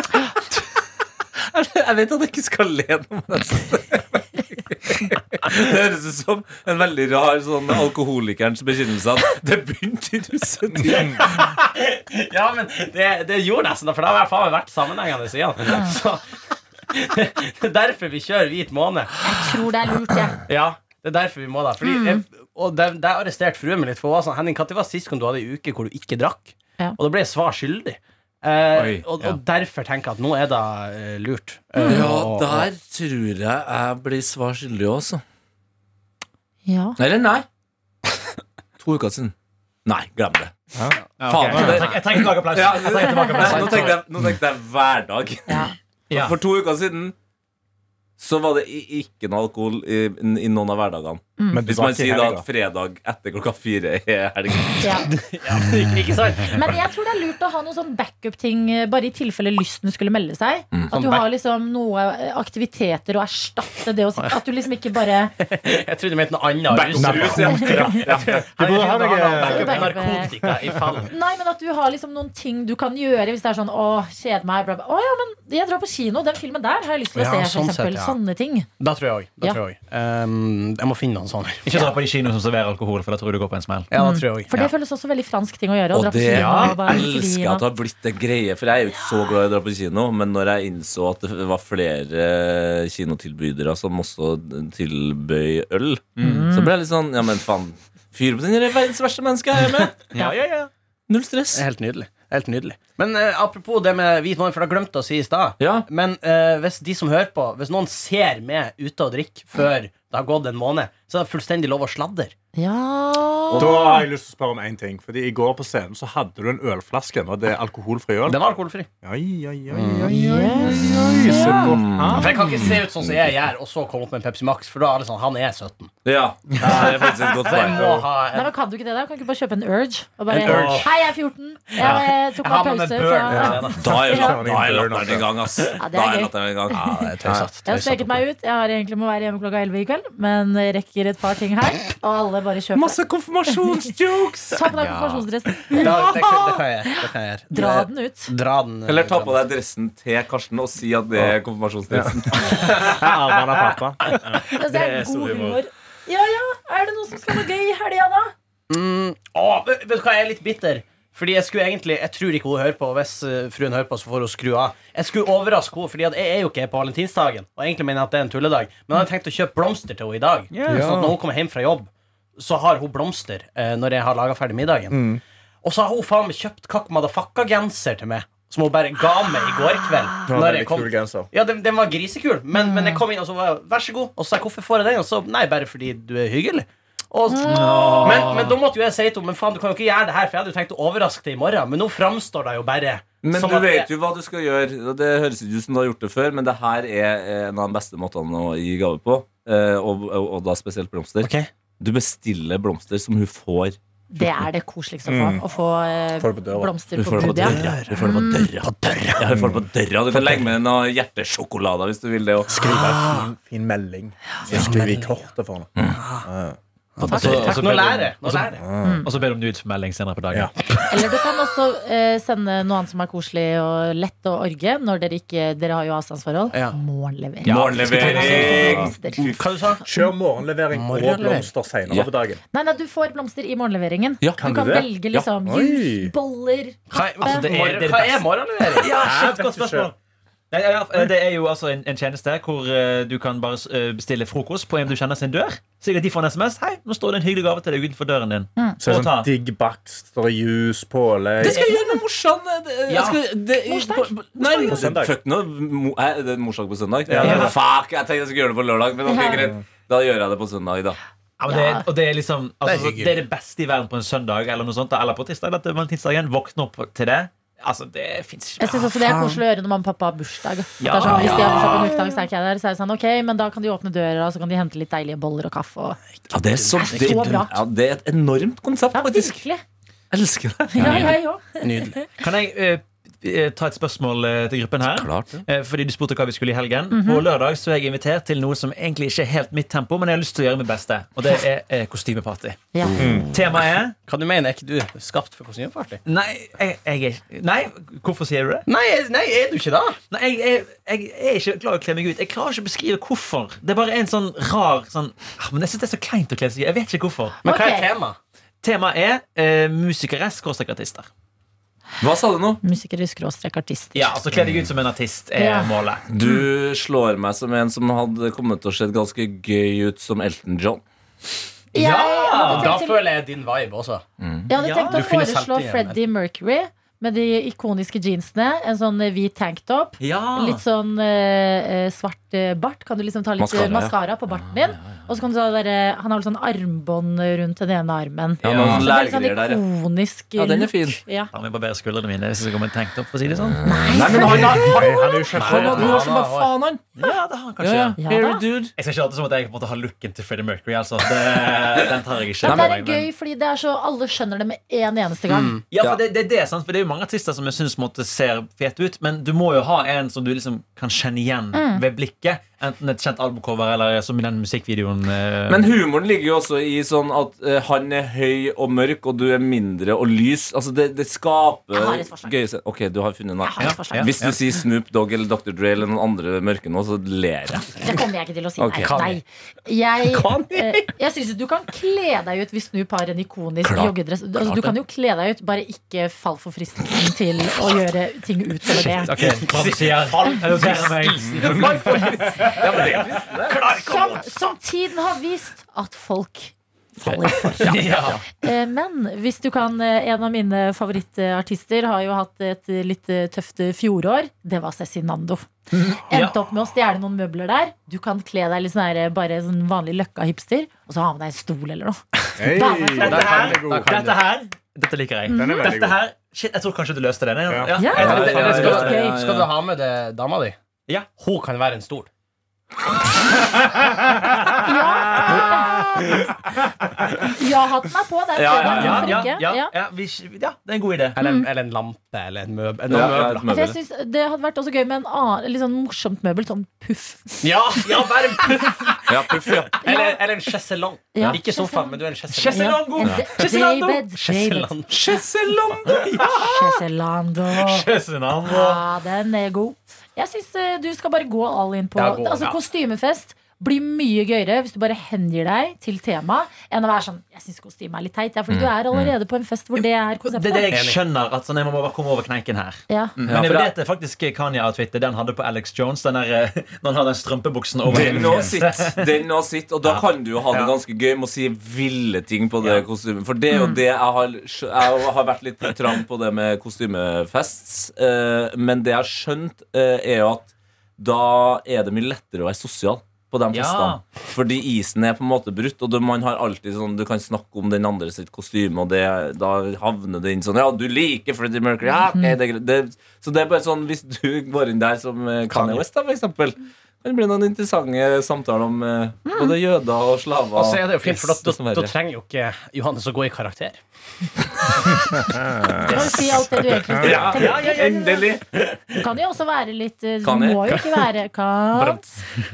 Speaker 5: jeg vet at jeg ikke skal le noe av det. [LAUGHS] Det høres ut som en veldig rar sånn alkoholikerens bekjennelse at det begynte i russetida.
Speaker 8: [LAUGHS] Ja, men det, det gjorde nesten det, for det har faen meg vært sammenhengende siden. Så [LAUGHS] det er derfor vi kjører hvit måned.
Speaker 2: Jeg tror det er lurt, jeg.
Speaker 8: Ja, det er derfor vi må det.
Speaker 2: Mm.
Speaker 8: Fordi jeg, og der, der arresterte fruen min litt. For hun var sånn, Henning, når var sist gang du hadde ei uke hvor du ikke drakk?
Speaker 2: Ja.
Speaker 8: Og da ble jeg svar skyldig. Eh,
Speaker 6: Oi,
Speaker 8: og,
Speaker 6: ja.
Speaker 8: og derfor tenker jeg at nå er det eh, lurt.
Speaker 2: Mm.
Speaker 8: Eh,
Speaker 5: Ja,
Speaker 8: og-
Speaker 5: der tror jeg jeg blir svar skyldig også.
Speaker 2: Ja.
Speaker 5: Eller nei. To uker siden. Nei, glem det. Faen,
Speaker 6: ok.
Speaker 5: det-
Speaker 6: Jeg trenger ikke lage applaus.
Speaker 5: Ja,
Speaker 6: Jeg trenger tilbake applaus.
Speaker 5: nå tenkte jeg, nå tenkte jeg hver dag.
Speaker 2: Ja.
Speaker 6: Ja.
Speaker 5: For to uker siden så var det i- ikke noe alkohol i, i noen av hverdagene.
Speaker 4: Men
Speaker 5: Hvis man sier da at fredag etter klokka fire er helg.
Speaker 2: [LAUGHS]
Speaker 8: [LAUGHS]
Speaker 2: Ja.
Speaker 8: Ikke- ikke sant?
Speaker 2: Men jeg tror det er lurt å ha noen sånn backup-ting, eh, bare i tilfelle lysten skulle melde seg.
Speaker 5: Mm.
Speaker 2: At du
Speaker 8: Sånn back-
Speaker 2: har liksom noe eh, aktiviteter å erstatte det å si. At du liksom ikke
Speaker 8: [LAUGHS]
Speaker 2: bare
Speaker 8: Jeg trodde du mente noe annet. rus.
Speaker 5: Rus,
Speaker 8: [LAUGHS]
Speaker 5: ja.
Speaker 4: Du
Speaker 6: eh,
Speaker 4: burde ha noe-
Speaker 8: Backup med
Speaker 2: Backup.
Speaker 8: Narkotika i fall.
Speaker 2: Nei, men at du har liksom noen ting du kan gjøre hvis det er sånn åh, kjede meg. Bla, bla. Å ja, men jeg drar på kino. Den filmen der har jeg lyst til å
Speaker 8: Ja,
Speaker 2: se, for
Speaker 8: sånn sett,
Speaker 2: eksempel.
Speaker 8: ja.
Speaker 2: Sånne ting.
Speaker 8: Da tror jeg òg.
Speaker 2: Ja.
Speaker 8: Jeg, Ehm, jeg må finne noen sånne.
Speaker 6: Ikke dra på de kinoene som serverer alkohol, for da tror jeg du går på en smell.
Speaker 8: Ja, da tror jeg
Speaker 2: For det
Speaker 8: òg.
Speaker 2: føles også veldig fransk ting å gjøre. å
Speaker 5: Og
Speaker 2: dra på
Speaker 5: det
Speaker 2: kino og bare
Speaker 5: elsker jeg
Speaker 2: grine.
Speaker 5: at det har blitt en greie, for jeg er jo ikke så glad i å dra på kino. Men når jeg innså at det var flere kinotilbydere som også tilbøy øl, så ble jeg litt sånn Ja, men faen. Fyr på den verdens verste mennesket jeg er med.
Speaker 8: Ja, ja, ja.
Speaker 5: Null stress.
Speaker 8: Helt nydelig. Eh, Helt nydelig. Men eh, apropos det med hvit mann, for jeg glemte å si i stad.
Speaker 5: Ja.
Speaker 8: Men eh, hvis de som hører på Hvis noen ser meg ute og drikke før det har gått en måned, så er det fullstendig lov å sladre.
Speaker 2: Ja
Speaker 4: Da har jeg lyst til å spørre om én ting. Fordi I går på scenen så hadde du en ølflaske. Var det alkoholfri Mm. øl?
Speaker 8: Den var alkoholfri.
Speaker 4: Oi, oi, oi, oi, oi, oi, så godt.
Speaker 8: For jeg kan ikke se ut sånn som jeg gjør, og så komme opp med en Pepsi Max, for da er alle sånn Han er 17.
Speaker 5: Ja, det er faktisk et godt
Speaker 8: Så
Speaker 5: poeng.
Speaker 8: jeg må ha
Speaker 2: Nei,
Speaker 8: en
Speaker 2: men Kan du ikke det? da? Kan du ikke bare kjøpe en Urge? Og bare,
Speaker 8: En Urge.
Speaker 2: Hei, jeg er 14. Jeg eh, tok
Speaker 8: Jeg
Speaker 2: meg
Speaker 8: har med meg
Speaker 2: pause.
Speaker 8: burn.
Speaker 2: Fra,
Speaker 8: Ja, da.
Speaker 5: Da er da er latteren
Speaker 8: altså.
Speaker 5: i gang, ass.
Speaker 2: Ja, det er
Speaker 5: Da er
Speaker 2: gøy.
Speaker 5: latteren i gang.
Speaker 2: Jeg har sneket meg ut. Jeg har egentlig må være hjemme klokka 11 i kveld, men rekker et par ting her. Og alle bare kjøper.
Speaker 4: Masse konfirmasjonsjokes!
Speaker 2: [LAUGHS] Ta på deg konfirmasjonsdressen.
Speaker 8: Da-
Speaker 2: [LAUGHS]
Speaker 8: det, kan- det kan jeg gjøre. Det kan jeg gjøre.
Speaker 2: Dra den ut.
Speaker 8: Dra den, eh,
Speaker 5: Eller ta
Speaker 8: dra
Speaker 5: på deg dressen til Karsten og si at det er konfirmasjonsdressen. [LAUGHS]
Speaker 4: Armene av pappa.
Speaker 2: Altså, det er god humor. Ja, ja. Er det noe som skal være gøy i helga, da?
Speaker 8: Mm, å, vet vet du hva, jeg er litt bitter. Fordi jeg skulle egentlig, jeg tror ikke hun hører på. og Hvis eh, fruen hører på, så får hun skru av. Jeg skulle overraske henne, fordi at jeg er jo ikke her på valentinsdagen. Og egentlig mener jeg at det er en tulledag Men jeg hadde tenkt å kjøpe blomster til henne i dag. Sånn at når hun kommer hjem fra jobb, så har hun blomster eh, når jeg har laga
Speaker 4: Mm.
Speaker 8: ferdig middagen. Og så har hun faen meg kjøpt kakk madafakka-genser til meg. Som hun bare ga meg i går kveld. Når jeg kom ja, den, den var grisekul, men, men jeg kom inn og så var jeg, Vær så god. Og så sa jeg hvorfor får jeg den? Og så nei, bare fordi du er hyggelig. Og, så- men, men da måtte jo jeg si til henne Men faen, du kan jo ikke gjøre det her, for jeg hadde jo tenkt å overraske deg i morgen. Men nå framstår det jo bare
Speaker 5: Men
Speaker 8: som
Speaker 5: du
Speaker 8: at
Speaker 5: vet
Speaker 8: jeg-
Speaker 5: jo hva du skal gjøre. og Det høres ikke ut som du har gjort det før, men det her er en av de beste måtene å gi gave på. eh, Og, og, og da spesielt blomster.
Speaker 8: Ok.
Speaker 5: Du bestiller blomster som hun får.
Speaker 2: Det er det koseligste å få. Å få eh,
Speaker 4: Får det på døra.
Speaker 2: blomster
Speaker 5: Hun
Speaker 2: på
Speaker 5: får det på
Speaker 2: budet. ja. Mm.
Speaker 5: døra. Hun får det på døra. Ja, hun får det på døra. Du kan legge med noe hjertesjokolader hvis du vil det også. Ah.
Speaker 4: Skriv en fin, fin melding. Så skriver vi kortet for henne.
Speaker 6: Mm. Altså, Og så- og så
Speaker 8: Nå
Speaker 6: ber du-
Speaker 8: lærer jeg.
Speaker 6: og
Speaker 8: Nå
Speaker 6: så-
Speaker 8: lærer jeg.
Speaker 6: Og så ber du om nudes-melding senere på dagen.
Speaker 4: Ja.
Speaker 2: Eller du kan også eh, sende noe annet som er koselig og lett å orge når dere ikke Dere har jo avstandsforhold.
Speaker 8: Ja.
Speaker 2: Morgenlevering.
Speaker 5: Morgenlevering!
Speaker 2: Blomster.
Speaker 8: Hva du sa Mm.
Speaker 4: Kjør morgenlevering og
Speaker 8: Morgenlevering.
Speaker 4: blomster
Speaker 5: Ja.
Speaker 4: senere på dagen.
Speaker 2: Nei, nei, du får blomster i morgenleveringen.
Speaker 5: Ja,
Speaker 4: kan
Speaker 2: du kan
Speaker 4: du det?
Speaker 2: velge liksom
Speaker 4: Ja. Oi.
Speaker 2: jus, boller
Speaker 8: Hva, altså, det er,
Speaker 6: er
Speaker 8: det hva er morgenlevering?
Speaker 6: Ja,
Speaker 4: shit,
Speaker 6: godt spørsmål. Nei, ja, ja, det er jo altså en, en tjeneste hvor eh, du kan bare eh, bestille frokost på en du kjenner sin dør. Slik at de får en SMS. Hei, nå står det en hyggelig gave til deg utenfor døren din.
Speaker 2: Mm.
Speaker 8: Mm.
Speaker 4: Så er det
Speaker 6: Og ta.
Speaker 4: sånn digg bakst, der er juice, pålegg
Speaker 5: skal jeg gjøre med morsan. Jeg skal, det, på- nei,
Speaker 4: På søndag.
Speaker 5: Fuck nå. mo- er det Morsdag på søndag?
Speaker 4: Ja.
Speaker 5: Ja, Fuck, jeg tenkte jeg skulle gjøre det på lørdag, men ok,
Speaker 2: Ja.
Speaker 5: greit. Da gjør jeg det på søndag, da.
Speaker 6: Ja, men det, er- og det er liksom
Speaker 8: Det er
Speaker 6: altså,
Speaker 8: hyggelig.
Speaker 6: det, er det beste i verden på en søndag eller noe sånt. da, Eller på tirsdag. Eller til valentinsdagen. Våkne opp til det. Altså, det fins
Speaker 2: Jeg
Speaker 6: ikke.
Speaker 2: synes også Det er koselig å gjøre når mamma og pappa har bursdag. Det
Speaker 6: Ja.
Speaker 2: er sånn, hvis de har bursdag på en ukedag, så er ikke jeg der. Så er det sånn, ok, men da kan de åpne døra, så kan de hente litt deilige boller og kaffe. Og...
Speaker 5: Ja, det er, så,
Speaker 2: Det er så bra.
Speaker 5: Ja, det er et enormt konsept,
Speaker 2: Ja,
Speaker 5: faktisk.
Speaker 2: virkelig.
Speaker 5: Jeg elsker det.
Speaker 2: Ja, jeg òg.
Speaker 8: Nydelig.
Speaker 6: Kan jeg eh, eh, ta et spørsmål eh, til gruppen her?
Speaker 5: Klart det.
Speaker 6: Eh, Fordi du spurte hva vi skulle i helgen.
Speaker 2: Mhm.
Speaker 6: På lørdag så er jeg invitert til noe som egentlig ikke er helt mitt tempo, men jeg har lyst til å gjøre mitt beste. Og det er eh, kostymeparty. Mm.
Speaker 2: Ja.
Speaker 6: Temaet er
Speaker 8: Mm. Hva du mener, er ikke du skapt for kostymeparty?
Speaker 6: Nei, jeg, jeg er Nei, hvorfor sier du det?
Speaker 8: Nei, nei, er du ikke det?
Speaker 6: Nei, jeg, jeg, jeg er ikke klar til å kle meg ut. Jeg klarer ikke å beskrive hvorfor. Det er bare en sånn rar sånn ah, Men jeg synes det er så kleint å kle seg ut. Jeg vet ikke hvorfor.
Speaker 8: Men hva er
Speaker 2: Ok.
Speaker 8: temaet?
Speaker 6: Temaet er eh, musikere-artister.
Speaker 5: Hva sa du nå?
Speaker 2: Musikere, skråstrek, artister.
Speaker 6: Ja, altså kle deg ut som en artist er
Speaker 2: Ja.
Speaker 6: målet.
Speaker 5: Du slår meg som en som hadde kommet til å se ganske gøy ut som Elton John.
Speaker 2: Jeg hadde
Speaker 8: Da
Speaker 2: tenkt, til,
Speaker 8: føler jeg din vibe også.
Speaker 2: jeg hadde tenkt
Speaker 6: Ja.
Speaker 2: å
Speaker 8: Du finnes
Speaker 2: foreslå
Speaker 8: alltid igjen.
Speaker 2: Freddie Mercury med de ikoniske jeansene, en sånn eh, hvit tanktop.
Speaker 6: Ja.
Speaker 2: Litt sånn eh, eh, svart eh, bart. Kan du liksom ta litt
Speaker 5: Mascara, ja.
Speaker 2: maskara på barten din? Og så kan du ta der, eh, Han har vel sånn armbånd rundt den ene armen.
Speaker 5: Ja,
Speaker 6: Ja.
Speaker 2: Så
Speaker 5: noen
Speaker 2: det er litt sånn
Speaker 5: lærgreier der, ja.
Speaker 2: ikonisk
Speaker 5: Ja, den er
Speaker 2: look.
Speaker 5: fin.
Speaker 2: Ja.
Speaker 6: Da må jeg barbere skuldrene mine hvis jeg kommer tenkt opp, for å si det sånn.
Speaker 5: Nei, men han har
Speaker 4: Nei, han er jo
Speaker 5: han
Speaker 4: ikke
Speaker 5: har-
Speaker 4: han
Speaker 5: han har som bare faen, han.
Speaker 6: Ja, det har han
Speaker 5: Ja,
Speaker 6: kanskje.
Speaker 5: ja.
Speaker 2: Ja
Speaker 5: Here,
Speaker 2: da.
Speaker 5: dude.
Speaker 6: Jeg skal ikke late som at jeg på en måte har looken til Freddie Mercury. Altså. Det, den tar jeg ikke.
Speaker 2: Men Mm. det
Speaker 6: på meg,
Speaker 2: er
Speaker 6: men-
Speaker 2: gøy, fordi det er så alle skjønner det med en eneste gang.
Speaker 6: Ja, for
Speaker 5: Mm. Ja.
Speaker 6: det, det er det, sant? For det er jo mange artister som jeg synes måtte ser fete ut, men du må jo ha en som du liksom kan kjenne igjen
Speaker 5: Mm.
Speaker 6: ved blikket. Enten et kjent albumcover eller som i den musikkvideoen. eh,
Speaker 5: Men humoren ligger jo også i sånn at eh, han er høy og mørk, og du er mindre og lys. Altså, det, det skaper
Speaker 2: Jeg har et forslag.
Speaker 5: gøye scener. Ok, du har funnet noe.
Speaker 2: har et forslag.
Speaker 5: Hvis du sier Snoop Dogg eller Dr. Dre eller noen andre mørke nå, så ler jeg.
Speaker 2: Det kommer jeg ikke til å si.
Speaker 5: Ok.
Speaker 2: Nei, nei. Jeg, eh, jeg syns du kan kle deg ut hvis Snoop har en ikonisk
Speaker 5: Klart.
Speaker 2: joggedress. Altså, du kan jo kle deg ut, bare ikke fall for fristelsen til å gjøre ting utover det.
Speaker 6: Ok, hva du sier? Jeg noterer meg.
Speaker 2: Som, som tiden har vist at folk faller
Speaker 5: [LAUGHS]
Speaker 2: for. Eh, Men hvis du kan eh, En av mine favorittartister har jo hatt et eh, litt eh, tøft eh, fjorår. Det var Cezinando. Endte opp med å stjele noen møbler der. Du kan kle deg litt sånn her, eh, bare sånn vanlig løkka-hipster, og så ha med deg en stol eller noe.
Speaker 4: Hey,
Speaker 2: Da er sånn. man
Speaker 4: den
Speaker 2: ferdig.
Speaker 4: er
Speaker 6: her-
Speaker 4: veldig god.
Speaker 6: Dette her Dette liker jeg.
Speaker 4: Den er veldig
Speaker 6: Dette
Speaker 4: god.
Speaker 6: her Shit, jeg tror kanskje du løste den. Ja.
Speaker 4: Ja.
Speaker 6: Ja.
Speaker 2: Ja,
Speaker 5: Ja, ja, ja,
Speaker 8: skal,
Speaker 5: ja, ja.
Speaker 8: skal du ha med deg dama di?
Speaker 6: Ja.
Speaker 8: Hun kan være en stol.
Speaker 5: [LAUGHS]
Speaker 2: Ja-hatten er på. Det er
Speaker 6: Ja, ja,
Speaker 2: fredag.
Speaker 6: ja,
Speaker 2: hvorfor
Speaker 6: ja,
Speaker 2: ikke?
Speaker 6: ja,
Speaker 2: Ja.
Speaker 6: ja, vi, ja, det er en god idé.
Speaker 8: Eller, en- eller en lampe eller en møbel.
Speaker 5: Ja,
Speaker 8: Noen
Speaker 5: ja,
Speaker 2: For
Speaker 5: et
Speaker 8: møbler.
Speaker 2: Altså, jeg
Speaker 5: møbel.
Speaker 2: synes Det hadde vært også gøy med en annen, litt sånn morsomt møbel. Sånn puff.
Speaker 8: Ja, ja, bare en puff.
Speaker 5: Ja, puff, ja.
Speaker 8: [LAUGHS] Eller, eller en sjeselong.
Speaker 2: Ja,
Speaker 8: Ikke sofa,
Speaker 2: sjeselong.
Speaker 8: men du er en sjeselong.
Speaker 6: Chesselongo!
Speaker 2: En d- David, David
Speaker 8: Sjeselong.
Speaker 2: Cheselando.
Speaker 6: Chesselongo!
Speaker 2: Ja, den er god. Jeg syns eh, du skal bare gå all in på
Speaker 8: Ja, gå,
Speaker 2: Altså
Speaker 8: ja.
Speaker 2: Kostymefest blir mye gøyere hvis du bare hengir deg til temaet, enn å være sånn Jeg syns kostyme er litt teit, ja, fordi du er allerede på en fest hvor det er
Speaker 6: Det er det
Speaker 2: konseptet.
Speaker 6: jeg skjønner. Mm. At sånn, jeg må bare komme over kneiken her.
Speaker 2: Ja.
Speaker 5: Mm. Ja,
Speaker 6: Men jeg
Speaker 5: for det-
Speaker 6: vurderte faktisk Kanye-outfitet den hadde på Alex Jones. Den der, eh, når han hadde den strømpebuksen over
Speaker 5: Den
Speaker 6: hele
Speaker 5: nå
Speaker 6: fjeset.
Speaker 5: sitter. Den nå sitter. Og da kan du jo ha det
Speaker 6: Ja.
Speaker 5: ganske gøy med å si ville ting på det kostymet. For det er jo det jeg har Jeg har vært litt trang på det med kostymefests. eh, Men det jeg har skjønt, eh, er jo at da er det mye lettere å være sosial. På de
Speaker 6: Ja.
Speaker 5: festene Fordi isen er på en måte brutt, og du- man har alltid sånn du kan snakke om den andre sitt kostyme, og det, da havner det inn sånn Ja, du liker Freddie Mercury. Ja, ok, det, er greit. det, så det er bare sånn hvis du går inn der som eh, Kanye West, da, for eksempel. Det blir noen interessante samtaler om eh,
Speaker 2: Mm.
Speaker 5: både jøder og slaver.
Speaker 8: Og så er det jo fint, for
Speaker 5: Yes,
Speaker 8: da, da,
Speaker 5: dessverre.
Speaker 8: da trenger jo ikke Johannes å gå i karakter.
Speaker 2: Du kan jo si alt det du egentlig skal
Speaker 5: Ja,
Speaker 2: tenke.
Speaker 5: ja, ja, endelig!
Speaker 2: Du kan jo også være litt eh, Du
Speaker 5: Kan jeg?
Speaker 2: må jo ikke være kan.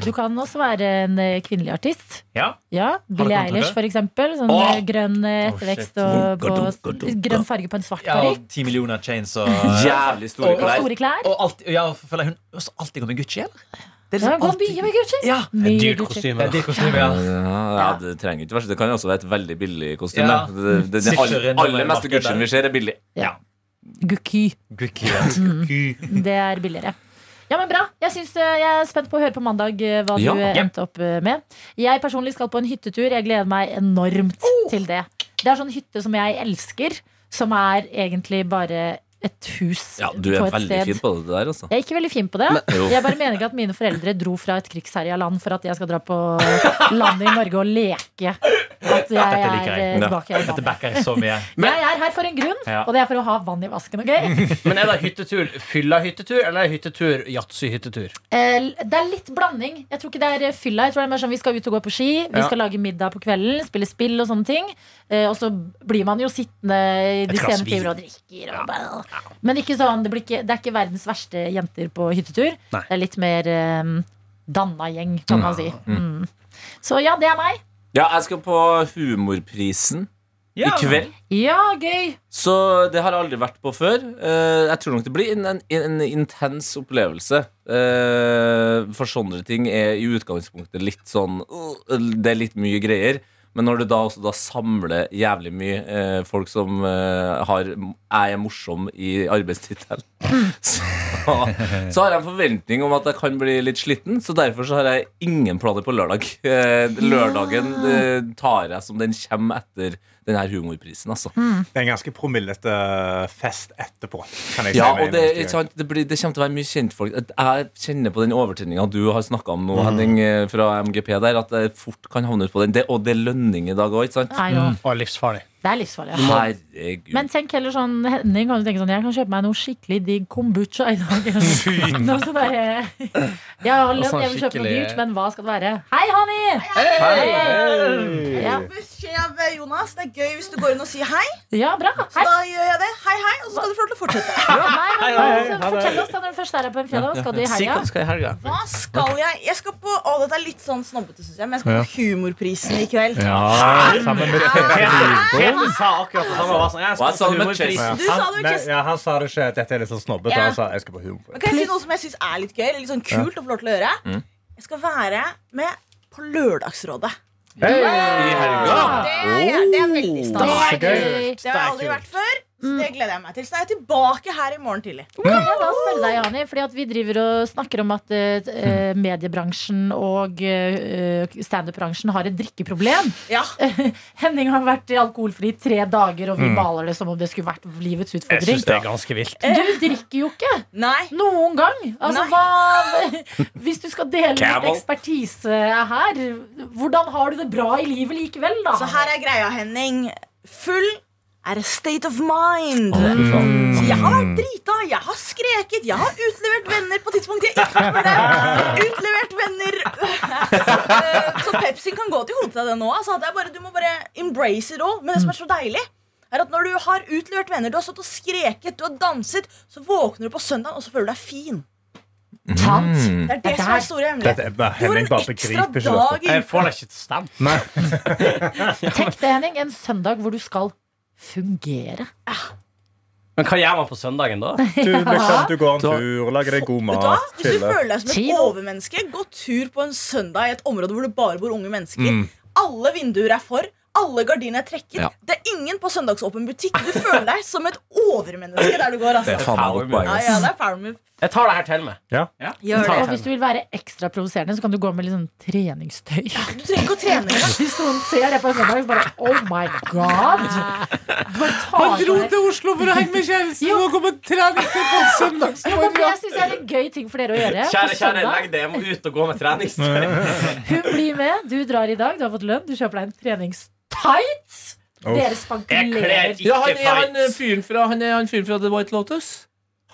Speaker 2: Du kan også være en eh, kvinnelige artist.
Speaker 6: Ja.
Speaker 2: Ja, Billie
Speaker 6: kommet noe?
Speaker 2: Eilish, for eksempel. Sånn
Speaker 6: Åh!
Speaker 2: eh, grønn eh, ettervekst og på, grønn farge på en svart
Speaker 6: ja,
Speaker 2: parykk.
Speaker 6: og ti millioner chains og
Speaker 5: Jævlig store
Speaker 2: Og
Speaker 5: klær.
Speaker 2: store klær.
Speaker 6: Og alt, ja, føler jeg hun også alltid går med Gucci, eller? Det
Speaker 2: Ja,
Speaker 6: liksom
Speaker 2: gå
Speaker 6: alltid-
Speaker 2: mye med Gucci.
Speaker 6: Ja.
Speaker 2: Mye
Speaker 8: Dyrt
Speaker 2: Gucci.
Speaker 8: kostyme.
Speaker 6: Det er
Speaker 8: da.
Speaker 6: det kostymet, ja.
Speaker 5: Ja, ja, det trenger ikke være så- Det kan jo også være et veldig billig kostyme.
Speaker 6: Ja.
Speaker 5: Det, det, det,
Speaker 6: Sitter
Speaker 5: aller,
Speaker 6: rundt om i
Speaker 5: aller meste
Speaker 6: markedet.
Speaker 5: Gucci-en vi ser, er billig.
Speaker 2: Gucci.
Speaker 6: Gucci, ja.
Speaker 2: [LAUGHS] Mm. Det er billigere. Ja, men bra. Jeg, syns, eh, jeg er spent på å høre på mandag eh, hva
Speaker 5: Ja.
Speaker 2: du eh,
Speaker 6: Ja.
Speaker 2: endte opp eh, med. Jeg personlig skal på en hyttetur. Jeg gleder meg enormt
Speaker 5: Oh!
Speaker 2: til det. Det er sånn hytte som jeg elsker, som er egentlig bare et hus
Speaker 5: Ja, du er
Speaker 2: på et
Speaker 5: veldig
Speaker 2: sted.
Speaker 5: fin på det der, altså.
Speaker 2: Jeg er ikke veldig fin på det.
Speaker 5: jo.
Speaker 2: jeg bare mener ikke at mine foreldre dro fra et krigsherja land for at jeg skal dra på [LAUGHS] landet i Norge og leke at jeg
Speaker 6: Dette
Speaker 2: er
Speaker 6: liker
Speaker 2: eh,
Speaker 6: jeg.
Speaker 2: tilbake i
Speaker 6: Dette
Speaker 2: landet.
Speaker 6: backer jeg så mye.
Speaker 2: Jeg er her for en grunn,
Speaker 6: Ja.
Speaker 2: og det er for å ha vann i vasken. ok?
Speaker 8: [LAUGHS] Men er det hyttetur fylla-hyttetur, eller er det hyttetur yatzy-hyttetur?
Speaker 2: Eh, Det er litt blanding. Jeg tror ikke det er eh, fylla. Jeg tror det er mer sånn Vi skal ut og gå på ski, vi
Speaker 8: Ja.
Speaker 2: skal lage middag på kvelden, spille spill og sånne ting. Eh, Og så blir man jo sittende i de
Speaker 8: glass
Speaker 2: sene
Speaker 8: vin.
Speaker 2: timer og drikker. Og bæ. Men ikke sånn, det, blir ikke, det er ikke verdens verste jenter på hyttetur.
Speaker 8: Nei.
Speaker 2: Det er litt mer eh, danna gjeng, kan man si. Mm. Så ja, det er meg.
Speaker 5: Ja, jeg skal på Humorprisen
Speaker 6: Ja.
Speaker 5: i kveld.
Speaker 2: Ja, gøy!
Speaker 5: Så det har jeg aldri vært på før. Eh, jeg tror nok det blir en, en, en intens opplevelse. Eh, for sånne ting er i utgangspunktet litt sånn øh, Det er litt mye greier. Men når du da også da samler jævlig mye eh, folk som eh, har er morsom i arbeidstittelen, så, så har jeg en forventning om at jeg kan bli litt sliten. Så derfor så har jeg ingen planer på lørdag. Eh, lørdagen eh, tar jeg som den kommer etter den her humorprisen, altså.
Speaker 2: Hmm.
Speaker 8: Mm.
Speaker 4: Det er en ganske promillete eh, fest etterpå. Kan jeg si
Speaker 5: Ja,
Speaker 4: med
Speaker 5: og
Speaker 4: en
Speaker 5: det,
Speaker 4: gang.
Speaker 5: ikke sant? Det, blir, det kommer til å være mye kjentfolk. Jeg kjenner på den overtenninga du har snakka om nå,
Speaker 8: Mhm.
Speaker 5: Henning, eh, fra MGP der, at jeg fort kan havne ut på den. Det, og det er lønning i dag òg, ikke sant?
Speaker 2: Nei,
Speaker 4: Mm.
Speaker 2: nå.
Speaker 8: Og livsfarlig.
Speaker 2: Det er livsfarlig. Ja.
Speaker 5: Herregud.
Speaker 2: Men tenk heller sånn, Henning kan jo tenke sånn Jeg kan kjøpe meg noe skikkelig digg kombucha i
Speaker 8: [LAUGHS]
Speaker 2: dag. Noe sånn der, eh, jeg har lønn, jeg vil kjøpe noe
Speaker 8: [LAUGHS] Altså, skikkelig-
Speaker 2: dyrt, men hva skal det være? Hei, Hani! Ja,
Speaker 7: Beskjed av Jonas. Det er gøy hvis du går inn og sier hei.
Speaker 2: ja, bra.
Speaker 7: Så
Speaker 2: Hei.
Speaker 7: da gjør jeg det. Hei, hei. Og så skal du få lov til å fortsette.
Speaker 2: Nei, men, altså, fortell oss da når du først er her på en fredag. Hva skal du i
Speaker 8: Si hva
Speaker 2: helga?
Speaker 8: du skal i helga.
Speaker 7: Hva skal jeg? Jeg skal på Å, dette er litt sånn snobbete, syns jeg, men jeg skal på Humorprisen i kveld.
Speaker 4: sammen med
Speaker 8: Tete sa akkurat det samme. hva som- Jeg
Speaker 5: Hva sa
Speaker 8: skal
Speaker 5: du
Speaker 8: til
Speaker 5: med
Speaker 8: humorprisen.
Speaker 7: Du sa det jo,
Speaker 4: Nei,
Speaker 7: Kirsten.
Speaker 4: ja, han sa det ikke. Dette er litt sånn snobbete.
Speaker 7: Ja.
Speaker 4: Han sa jeg skal på humor.
Speaker 7: Kan jeg si noe som jeg syns er litt gøy? eller Litt sånn kult å få lov til å gjøre?
Speaker 8: Mm.
Speaker 7: Jeg skal være med på Lørdagsrådet.
Speaker 4: Hey!
Speaker 5: I helga? Oh.
Speaker 7: Det er, det er veldig stas.
Speaker 4: så gøy.
Speaker 7: Det har jeg aldri vært før.
Speaker 9: Så det gleder jeg meg til. Så jeg er tilbake her i morgen tidlig.
Speaker 2: Kan jeg da spørre deg, Jani, fordi at vi driver og snakker om at eh, eh,
Speaker 8: Hmm.
Speaker 2: mediebransjen og eh, standup-bransjen har et drikkeproblem.
Speaker 9: Ja.
Speaker 2: [LAUGHS] Henning har vært alkoholfri i tre dager, og vi maler det som om det skulle vært livets
Speaker 8: Hmm. Jeg
Speaker 2: utfordring.
Speaker 8: syns
Speaker 2: Eh.
Speaker 8: det er ganske vilt.
Speaker 2: Du drikker jo ikke
Speaker 9: Eh. Nei.
Speaker 2: noen gang. Altså, hva, [LAUGHS] hvis du skal dele litt
Speaker 5: Camel.
Speaker 2: ekspertise her, hvordan har du det bra i livet likevel, da?
Speaker 9: Så her er greia, Henning. Full er a state of mind. Så jeg har vært drita, jeg har skreket, jeg har utlevert venner på tidspunkt jeg ikke burde. Utlevert venner. Eh, Så Pepsi kan gå til hodet av det nå. Altså. Det er bare, du må bare embrace it all. Men det som er så deilig, er at når du har utlevert venner, du har stått og skreket, du har danset, så våkner du på søndag, og så føler du deg fin.
Speaker 2: Sant?
Speaker 9: Det er det
Speaker 2: Det er
Speaker 9: som
Speaker 2: der.
Speaker 9: er store hemmelighet.
Speaker 4: Dette er bare,
Speaker 9: Du
Speaker 4: Mm.
Speaker 9: har
Speaker 4: Henning
Speaker 9: en
Speaker 4: bare
Speaker 9: ekstra
Speaker 4: begriper ikke dette.
Speaker 9: dag i
Speaker 8: Jeg får det ikke til å stemme.
Speaker 2: Tenk deg, Henning, en søndag hvor du skal fungere.
Speaker 8: Men hva gjør man på søndagen da?
Speaker 4: Du, liksom, du går en tur, lager deg god
Speaker 9: Vet du hva?
Speaker 4: mat,
Speaker 9: Hvis du
Speaker 4: chiller.
Speaker 9: føler deg som et
Speaker 2: Chill.
Speaker 9: overmenneske, gå tur på en søndag i et område hvor det bare bor unge mennesker. Alle vinduer er for. Alle gardiner er trekket.
Speaker 5: Ja.
Speaker 9: Det er ingen på søndagsåpen butikk. Du føler deg som et overmenneske der du går.
Speaker 5: Det er
Speaker 9: Altså.
Speaker 5: faen meg godt poeng.
Speaker 9: Ja,
Speaker 5: ass.
Speaker 9: ja, det er power move.
Speaker 8: Jeg tar det her til meg.
Speaker 4: Ja.
Speaker 8: Jeg tar
Speaker 2: Og hvis
Speaker 8: det til meg.
Speaker 2: du vil være ekstra provoserende, så kan du gå med litt sånn treningstøy.
Speaker 9: Du trenger ikke å trene engang.
Speaker 2: [LAUGHS] Hvis noen ser det på en søndag, så bare Oh my god!
Speaker 9: Ah.
Speaker 2: Han dro til Oslo for å henge med kjæresten og gå med treningstøy på en søndag. Jeg syns det er en gøy ting for dere å gjøre.
Speaker 8: Kjære,
Speaker 2: på
Speaker 8: kjære,
Speaker 2: søndag.
Speaker 8: legg det. Jeg må ut og gå med treningstøy.
Speaker 2: Hun blir med. Du drar i dag. Du har fått lønn. Du kjøper deg en treningstights. Dere
Speaker 8: Jeg kler
Speaker 2: spankulerer.
Speaker 8: ikke tights.
Speaker 5: fyren fra, han er han fyren fra The White Lotus.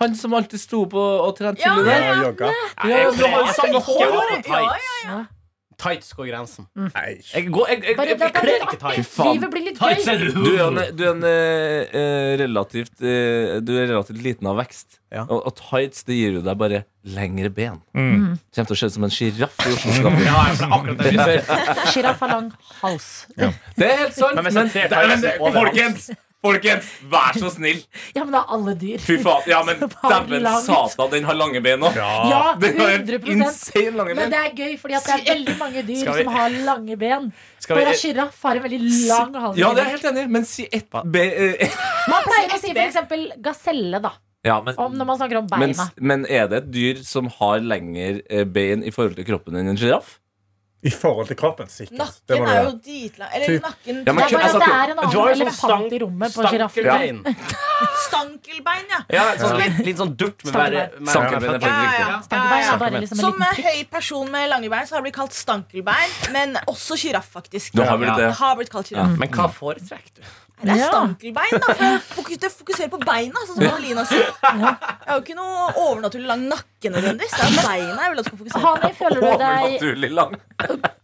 Speaker 5: Han som alltid sto på og trente
Speaker 9: Ja,
Speaker 5: til i
Speaker 4: Ja, jogga.
Speaker 8: Nei, Jeg kler jeg skal ikke ha på
Speaker 9: Ja, ja,
Speaker 8: tights. Tights går grensen.
Speaker 4: Nei.
Speaker 8: Jeg, går, jeg, jeg,
Speaker 2: Bare det
Speaker 8: jeg,
Speaker 2: er bare
Speaker 8: kler
Speaker 2: litt
Speaker 8: ikke
Speaker 2: artig.
Speaker 8: tights.
Speaker 5: Faen.
Speaker 2: Livet blir litt
Speaker 8: Tights
Speaker 2: gøy.
Speaker 8: er
Speaker 5: Du er en, du er en eh, eh, relativt eh, Du er relativt liten av vekst.
Speaker 8: Ja.
Speaker 5: Og, og tights det gir jo deg bare lengre ben.
Speaker 2: Mm.
Speaker 5: Kommer til å se ut som en sjiraff i Oslo.
Speaker 8: [LAUGHS] Ja, jeg ble akkurat det. jeg skulle si.
Speaker 2: Sjiraff har lang hals.
Speaker 5: [LAUGHS] Det er helt sant.
Speaker 8: Men hvis jeg ser tightsen overalt-
Speaker 5: folkens, vær så snill!
Speaker 2: Ja, men det er alle dyr.
Speaker 5: Fy faen, ja,
Speaker 2: [LAUGHS]
Speaker 5: men
Speaker 2: Bare
Speaker 5: dæven
Speaker 2: langt.
Speaker 5: satan, den har lange ben òg.
Speaker 2: Ja,
Speaker 5: Den har
Speaker 2: 100
Speaker 5: insane lange
Speaker 2: Men
Speaker 5: ben.
Speaker 2: det er gøy, fordi at det er veldig mange dyr
Speaker 8: Skal vi-
Speaker 2: som har lange ben.
Speaker 8: Skal vi-
Speaker 2: Bare sjiraff har en veldig lang hals.
Speaker 5: Ja, det er jeg helt enig, i, men si ett be... eh, [LAUGHS] ett-
Speaker 2: Man pleier å si for eksempel gaselle, da.
Speaker 5: Ja, men,
Speaker 2: Om når man snakker om
Speaker 5: men,
Speaker 2: beina.
Speaker 5: men er det et dyr som har lengre eh, bein i forhold til kroppen enn en sjiraff?
Speaker 4: I forhold til kroppen, sikkert. Det
Speaker 9: Nakken
Speaker 4: må
Speaker 9: er
Speaker 4: det
Speaker 9: jo
Speaker 4: være.
Speaker 9: dritlang. Eller nakken
Speaker 5: Ja, men
Speaker 2: Det er
Speaker 5: kun-
Speaker 2: bare
Speaker 5: altså,
Speaker 2: at det er en
Speaker 8: Du har
Speaker 2: annen
Speaker 8: jo sånn
Speaker 2: elefant i rommet på sjiraffen.
Speaker 8: stankelbein.
Speaker 9: Stankelbein, ja.
Speaker 8: Ja, sånn litt, litt sånn durt med
Speaker 2: Stankelbein.
Speaker 8: bare- med-
Speaker 5: Stankelbein er
Speaker 8: Ja.
Speaker 9: Ja,
Speaker 5: faktisk
Speaker 9: ja,
Speaker 5: riktig.
Speaker 9: ja. ja, ja.
Speaker 2: Stankelbein er bare liksom en
Speaker 9: Som eh,
Speaker 2: liten prikk.
Speaker 9: høy person med lange bein så har jeg blitt kalt stankelbein. Men også sjiraff, faktisk.
Speaker 5: Du har blitt det.
Speaker 9: Jeg har blitt kalt sjiraff.
Speaker 8: Men hva foretrekker du?
Speaker 9: Det er
Speaker 2: Ja.
Speaker 9: stankelbein, da. For jeg fokus- jeg fokuserer på beina, sånn som Alina sier. Jeg har jo ikke noe overnaturlig lang nakke nødvendigvis. Det er beina jeg vil at du skal fokusere på.
Speaker 2: Hani, føler du, deg,
Speaker 5: Overnaturlig lang.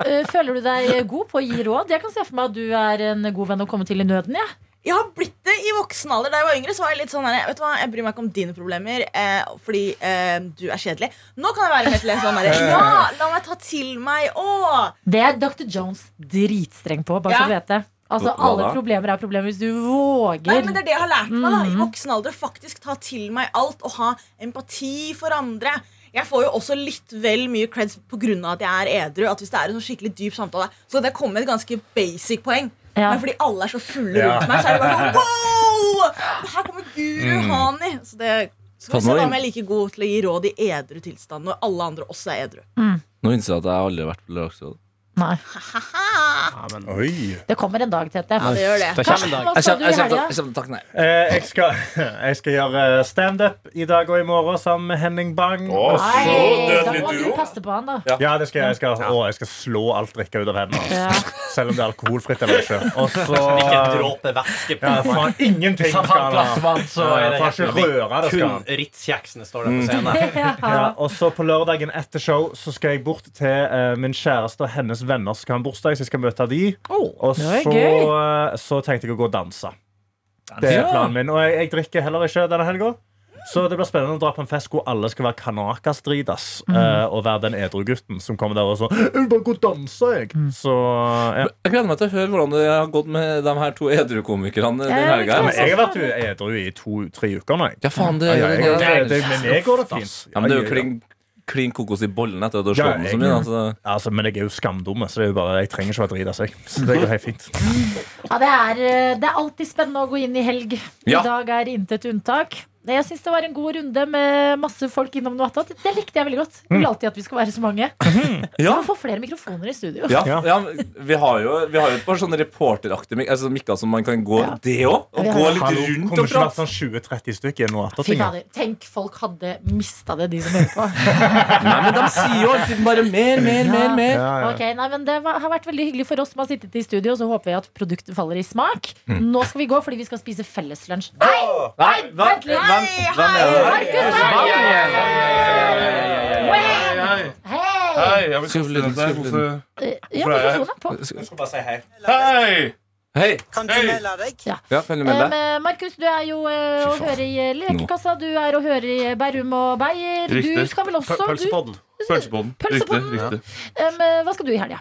Speaker 2: øh, føler du deg god på å gi råd? Jeg kan se for meg at du er en god venn å komme til i nøden. Ja.
Speaker 9: Jeg har blitt det i voksen alder. Da jeg var yngre, så var jeg litt sånn her, vet du hva, jeg bryr meg ikke om dine problemer, eh, fordi eh, du er kjedelig. Nå kan jeg være mer til en sånn her, ja, la meg ta til meg, å!
Speaker 2: Det er Dr. Jones dritstreng på, bare
Speaker 9: Ja.
Speaker 2: så du vet det. Altså,
Speaker 5: Hva da?
Speaker 2: Alle problemer er problemer hvis du
Speaker 9: Nei,
Speaker 2: våger.
Speaker 9: men det er det jeg har lært meg da, i voksen alder. Faktisk ta til meg alt og ha empati for andre. Jeg får jo også litt vel mye creds pga. at jeg er edru. At hvis det er en sånn skikkelig dyp samtale, så kan jeg komme med et ganske basic poeng.
Speaker 2: Ja.
Speaker 9: Men fordi alle er så fulle
Speaker 4: Ja.
Speaker 9: rundt meg, så er det bare sånn wow! Her kommer guru Hani. Så det så
Speaker 5: Ta
Speaker 9: skal
Speaker 5: nå
Speaker 9: vi se
Speaker 5: inn.
Speaker 9: om jeg er like god til å gi råd i edru tilstand når alle andre også er edru.
Speaker 5: Nå innser jeg at jeg aldri har vært på Lørdagsrådet.
Speaker 2: Nei,
Speaker 4: Oi.
Speaker 2: det kommer en dag, Tete.
Speaker 9: Ja, det gjør det.
Speaker 8: Det kommer en dag.
Speaker 2: Hva skal du i helga?
Speaker 4: Eh, jeg, skal, [LAUGHS] jeg skal gjøre standup i dag og i morgen sammen med Henning Bang. Og så-
Speaker 2: Nei, da
Speaker 5: dødelig
Speaker 2: må du
Speaker 5: duo.
Speaker 2: passe på han, da.
Speaker 4: Ja, det skal jeg. Jeg skal, å, jeg skal slå alt drikke ut av hendene. hans.
Speaker 2: Ja.
Speaker 4: Selv om det er alkoholfritt eller ikke. Og så
Speaker 8: [LAUGHS] Ikke en dråpe væske på
Speaker 4: ja, faen, Ingenting
Speaker 8: Hvis han tar
Speaker 4: skal
Speaker 8: et glass
Speaker 4: han ha.
Speaker 8: vann, så er det
Speaker 4: Ja, får ikke
Speaker 8: helt
Speaker 4: røre det, skal
Speaker 8: Kun
Speaker 4: han.
Speaker 8: Ritz-kjeksene står der på scenen.
Speaker 4: Mm.
Speaker 5: [LAUGHS]
Speaker 4: Ja, og så på lørdagen etter show Så skal jeg bort til eh, min kjæreste og hennes venner som skal ha en bursdag. Så jeg skal møte de. og så,
Speaker 2: det er gøy.
Speaker 4: eh, så tenkte jeg å gå og danse. Det er planen min. Og jeg, jeg drikker heller ikke denne helga. Så det blir spennende å dra på en fest hvor alle skal være kanakasdritas.
Speaker 5: Mm.
Speaker 4: eh, og være den edru gutten som kommer der og sånn 'Jeg vil bare gå og danse', jeg. Så ja.
Speaker 5: Mm. Jeg gleder meg til å høre hvordan det har gått med de her to edrukomikerne den
Speaker 2: Ja,
Speaker 5: helga.
Speaker 2: men
Speaker 4: Men jeg har vært edru i to-tre uker nå. jeg.
Speaker 5: Ja, faen, det
Speaker 4: Ja,
Speaker 5: er
Speaker 4: ja,
Speaker 5: jo
Speaker 4: jeg,
Speaker 5: den
Speaker 4: det, det, med meg går det fint.
Speaker 5: Ja, men det er jo
Speaker 4: Ja, ja, ja.
Speaker 5: kling klin kokos i bollen etter at du har
Speaker 4: Ja,
Speaker 5: slått den så mye.
Speaker 4: jeg-
Speaker 5: Altså.
Speaker 4: Altså, men jeg er jo skamdumme, så det er jo bare, jeg trenger ikke å være drita seg. Så det går helt fint.
Speaker 2: Ja, det er, eh, det er alltid spennende å gå inn i helg.
Speaker 5: Ja.
Speaker 2: I dag er intet unntak. Det- Jeg syns det var en god runde med masse folk innom noe attåt. Det likte jeg veldig godt. Jeg vil alltid at vi skal være så mange. Vi
Speaker 5: Ja.
Speaker 2: må få flere mikrofoner i studio.
Speaker 5: Ja, ja, men vi har jo vi har jo et par sånne reporteraktige mik altså, mikker som man kan gå Det òg! Og
Speaker 2: Ja, vi
Speaker 5: gå
Speaker 2: har-
Speaker 5: litt
Speaker 4: Hallo,
Speaker 5: rundt
Speaker 4: Kunne
Speaker 5: og
Speaker 4: ikke vært
Speaker 5: prate.
Speaker 4: sånn 20-30 stykker nå
Speaker 2: Fy
Speaker 4: etter ting.
Speaker 2: fader. Tenk folk hadde mista det, de som hører på.
Speaker 5: [LAUGHS] Nei, men de sier jo alltid bare mer, mer, mer. mer.
Speaker 4: Ja, ja.
Speaker 2: Ok, nei, men Det var, har vært veldig hyggelig for oss som har sittet i studio. Så håper vi at produktet faller i smak.
Speaker 5: Mm.
Speaker 2: Nå skal vi gå fordi vi skal spise felleslunsj. Nei!
Speaker 3: Nei,
Speaker 2: vent litt.
Speaker 3: hvem er det?
Speaker 2: Markus Berg! Hei!
Speaker 10: Hei, jeg vil
Speaker 5: Skruv lyden,
Speaker 10: kaste den
Speaker 5: skruv
Speaker 10: der.
Speaker 5: lyden.
Speaker 10: Hvorfor-
Speaker 2: Ja,
Speaker 10: Hvorfor er jeg-
Speaker 2: mikrofonen er på.
Speaker 10: Hei!
Speaker 5: Hei!
Speaker 11: Kan du
Speaker 10: Hei.
Speaker 11: melde deg?
Speaker 5: Ja, kan du melde
Speaker 2: Eh,
Speaker 5: deg?
Speaker 2: Men Markus, du er jo eh, å
Speaker 5: Fy faen.
Speaker 2: høre i eh, Lekekassa. Du er å høre i Bærum og Beyer. Du
Speaker 10: Riktig.
Speaker 2: skal vel også du,
Speaker 8: Pølsepodden.
Speaker 10: Pølsepodden. Riktig.
Speaker 2: Pølsepodden.
Speaker 10: riktig.
Speaker 2: em, eh, Hva skal du i helga?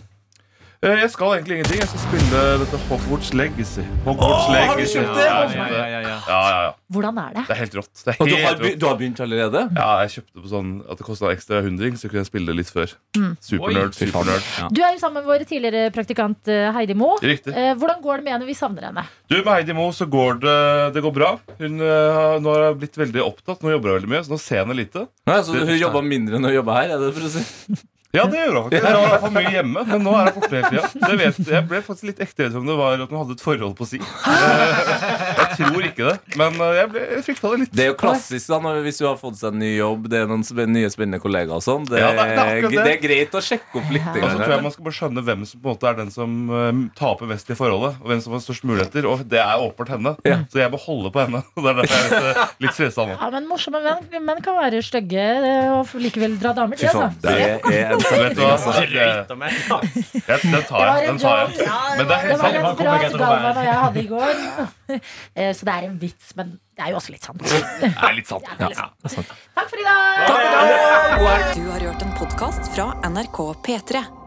Speaker 10: Eh, Jeg skal egentlig ingenting. Jeg skal spille dette Hogwarts Legacy. Hogwarts Legacy.
Speaker 5: kjøpt det?
Speaker 10: Ja,
Speaker 2: Oh my
Speaker 10: ja, ja, ja, ja.
Speaker 2: Hvordan er det?
Speaker 10: Det er helt rått. Det er
Speaker 5: Og du har,
Speaker 10: helt
Speaker 5: be-
Speaker 10: rått.
Speaker 5: du har begynt allerede?
Speaker 10: Ja, jeg kjøpte det på sånn at det kosta ekstra hundring, så kunne jeg spille det litt før. Supernerd,
Speaker 5: Fy faen.
Speaker 10: supernerd.
Speaker 5: Ja.
Speaker 2: Mm. Du er jo sammen med vår tidligere praktikant eh, Heidi Mo.
Speaker 10: Riktig.
Speaker 2: Eh, Hvordan går det med henne? Vi savner henne.
Speaker 10: Du, Med Heidi Moe så går det, det går bra. Hun eh, har- nå har hun blitt veldig opptatt. Nå jobber hun veldig mye, så nå ser jeg henne lite.
Speaker 5: Nei, så hun jobba mindre enn hun jobba her? Er det for å si?
Speaker 10: [LAUGHS] Ja, det gjør hun. Hun var i hvert fall mye hjemme, men nå er hun borte hele tida.
Speaker 5: [LAUGHS]
Speaker 10: Det vet- Jeg ble faktisk litt ekte redd for om det var at hun hadde et forhold på si. Eh, Jeg tror ikke det, men eh, jeg, ble, jeg frykta det litt.
Speaker 5: Det er jo klassisk da, når, hvis du har fått seg en ny jobb, det er noen spen- nye spennende kollegaer og sånn. Det,
Speaker 10: Ja, det er- det er
Speaker 5: er-
Speaker 10: akkurat
Speaker 5: det
Speaker 10: det.
Speaker 5: er greit å sjekke opp litt.
Speaker 10: Og så tror jeg
Speaker 5: grann.
Speaker 10: man skal bare skjønne hvem som på en måte er den som eh, taper mest i forholdet. Og hvem som har størst muligheter. Og det er åpenbart henne.
Speaker 5: Ja.
Speaker 10: Så jeg bør holde på henne. [LAUGHS] Og det er derfor jeg er litt, eh, litt stressa nå.
Speaker 2: Ja, men Morsomme menn, menn kan være stygge eh, og likevel dra damer
Speaker 5: Fy
Speaker 2: til.
Speaker 5: faen,
Speaker 2: Altså.
Speaker 5: det er en
Speaker 10: Vet du hva?
Speaker 6: Drøyt om jeg-
Speaker 10: Jeg- Den tar jeg. Den tar jeg. Men det er helt
Speaker 2: Det var
Speaker 10: sant.
Speaker 2: en
Speaker 6: Han kommer ikke
Speaker 2: prat
Speaker 6: til å
Speaker 2: Galvan og jeg hadde i går. [LAUGHS] Eh, Så det er en vits, men det er jo også litt
Speaker 10: [LAUGHS]
Speaker 2: sant.
Speaker 10: Det er litt sant.
Speaker 2: Takk for i dag!
Speaker 1: Du har hørt en podkast fra NRK P3.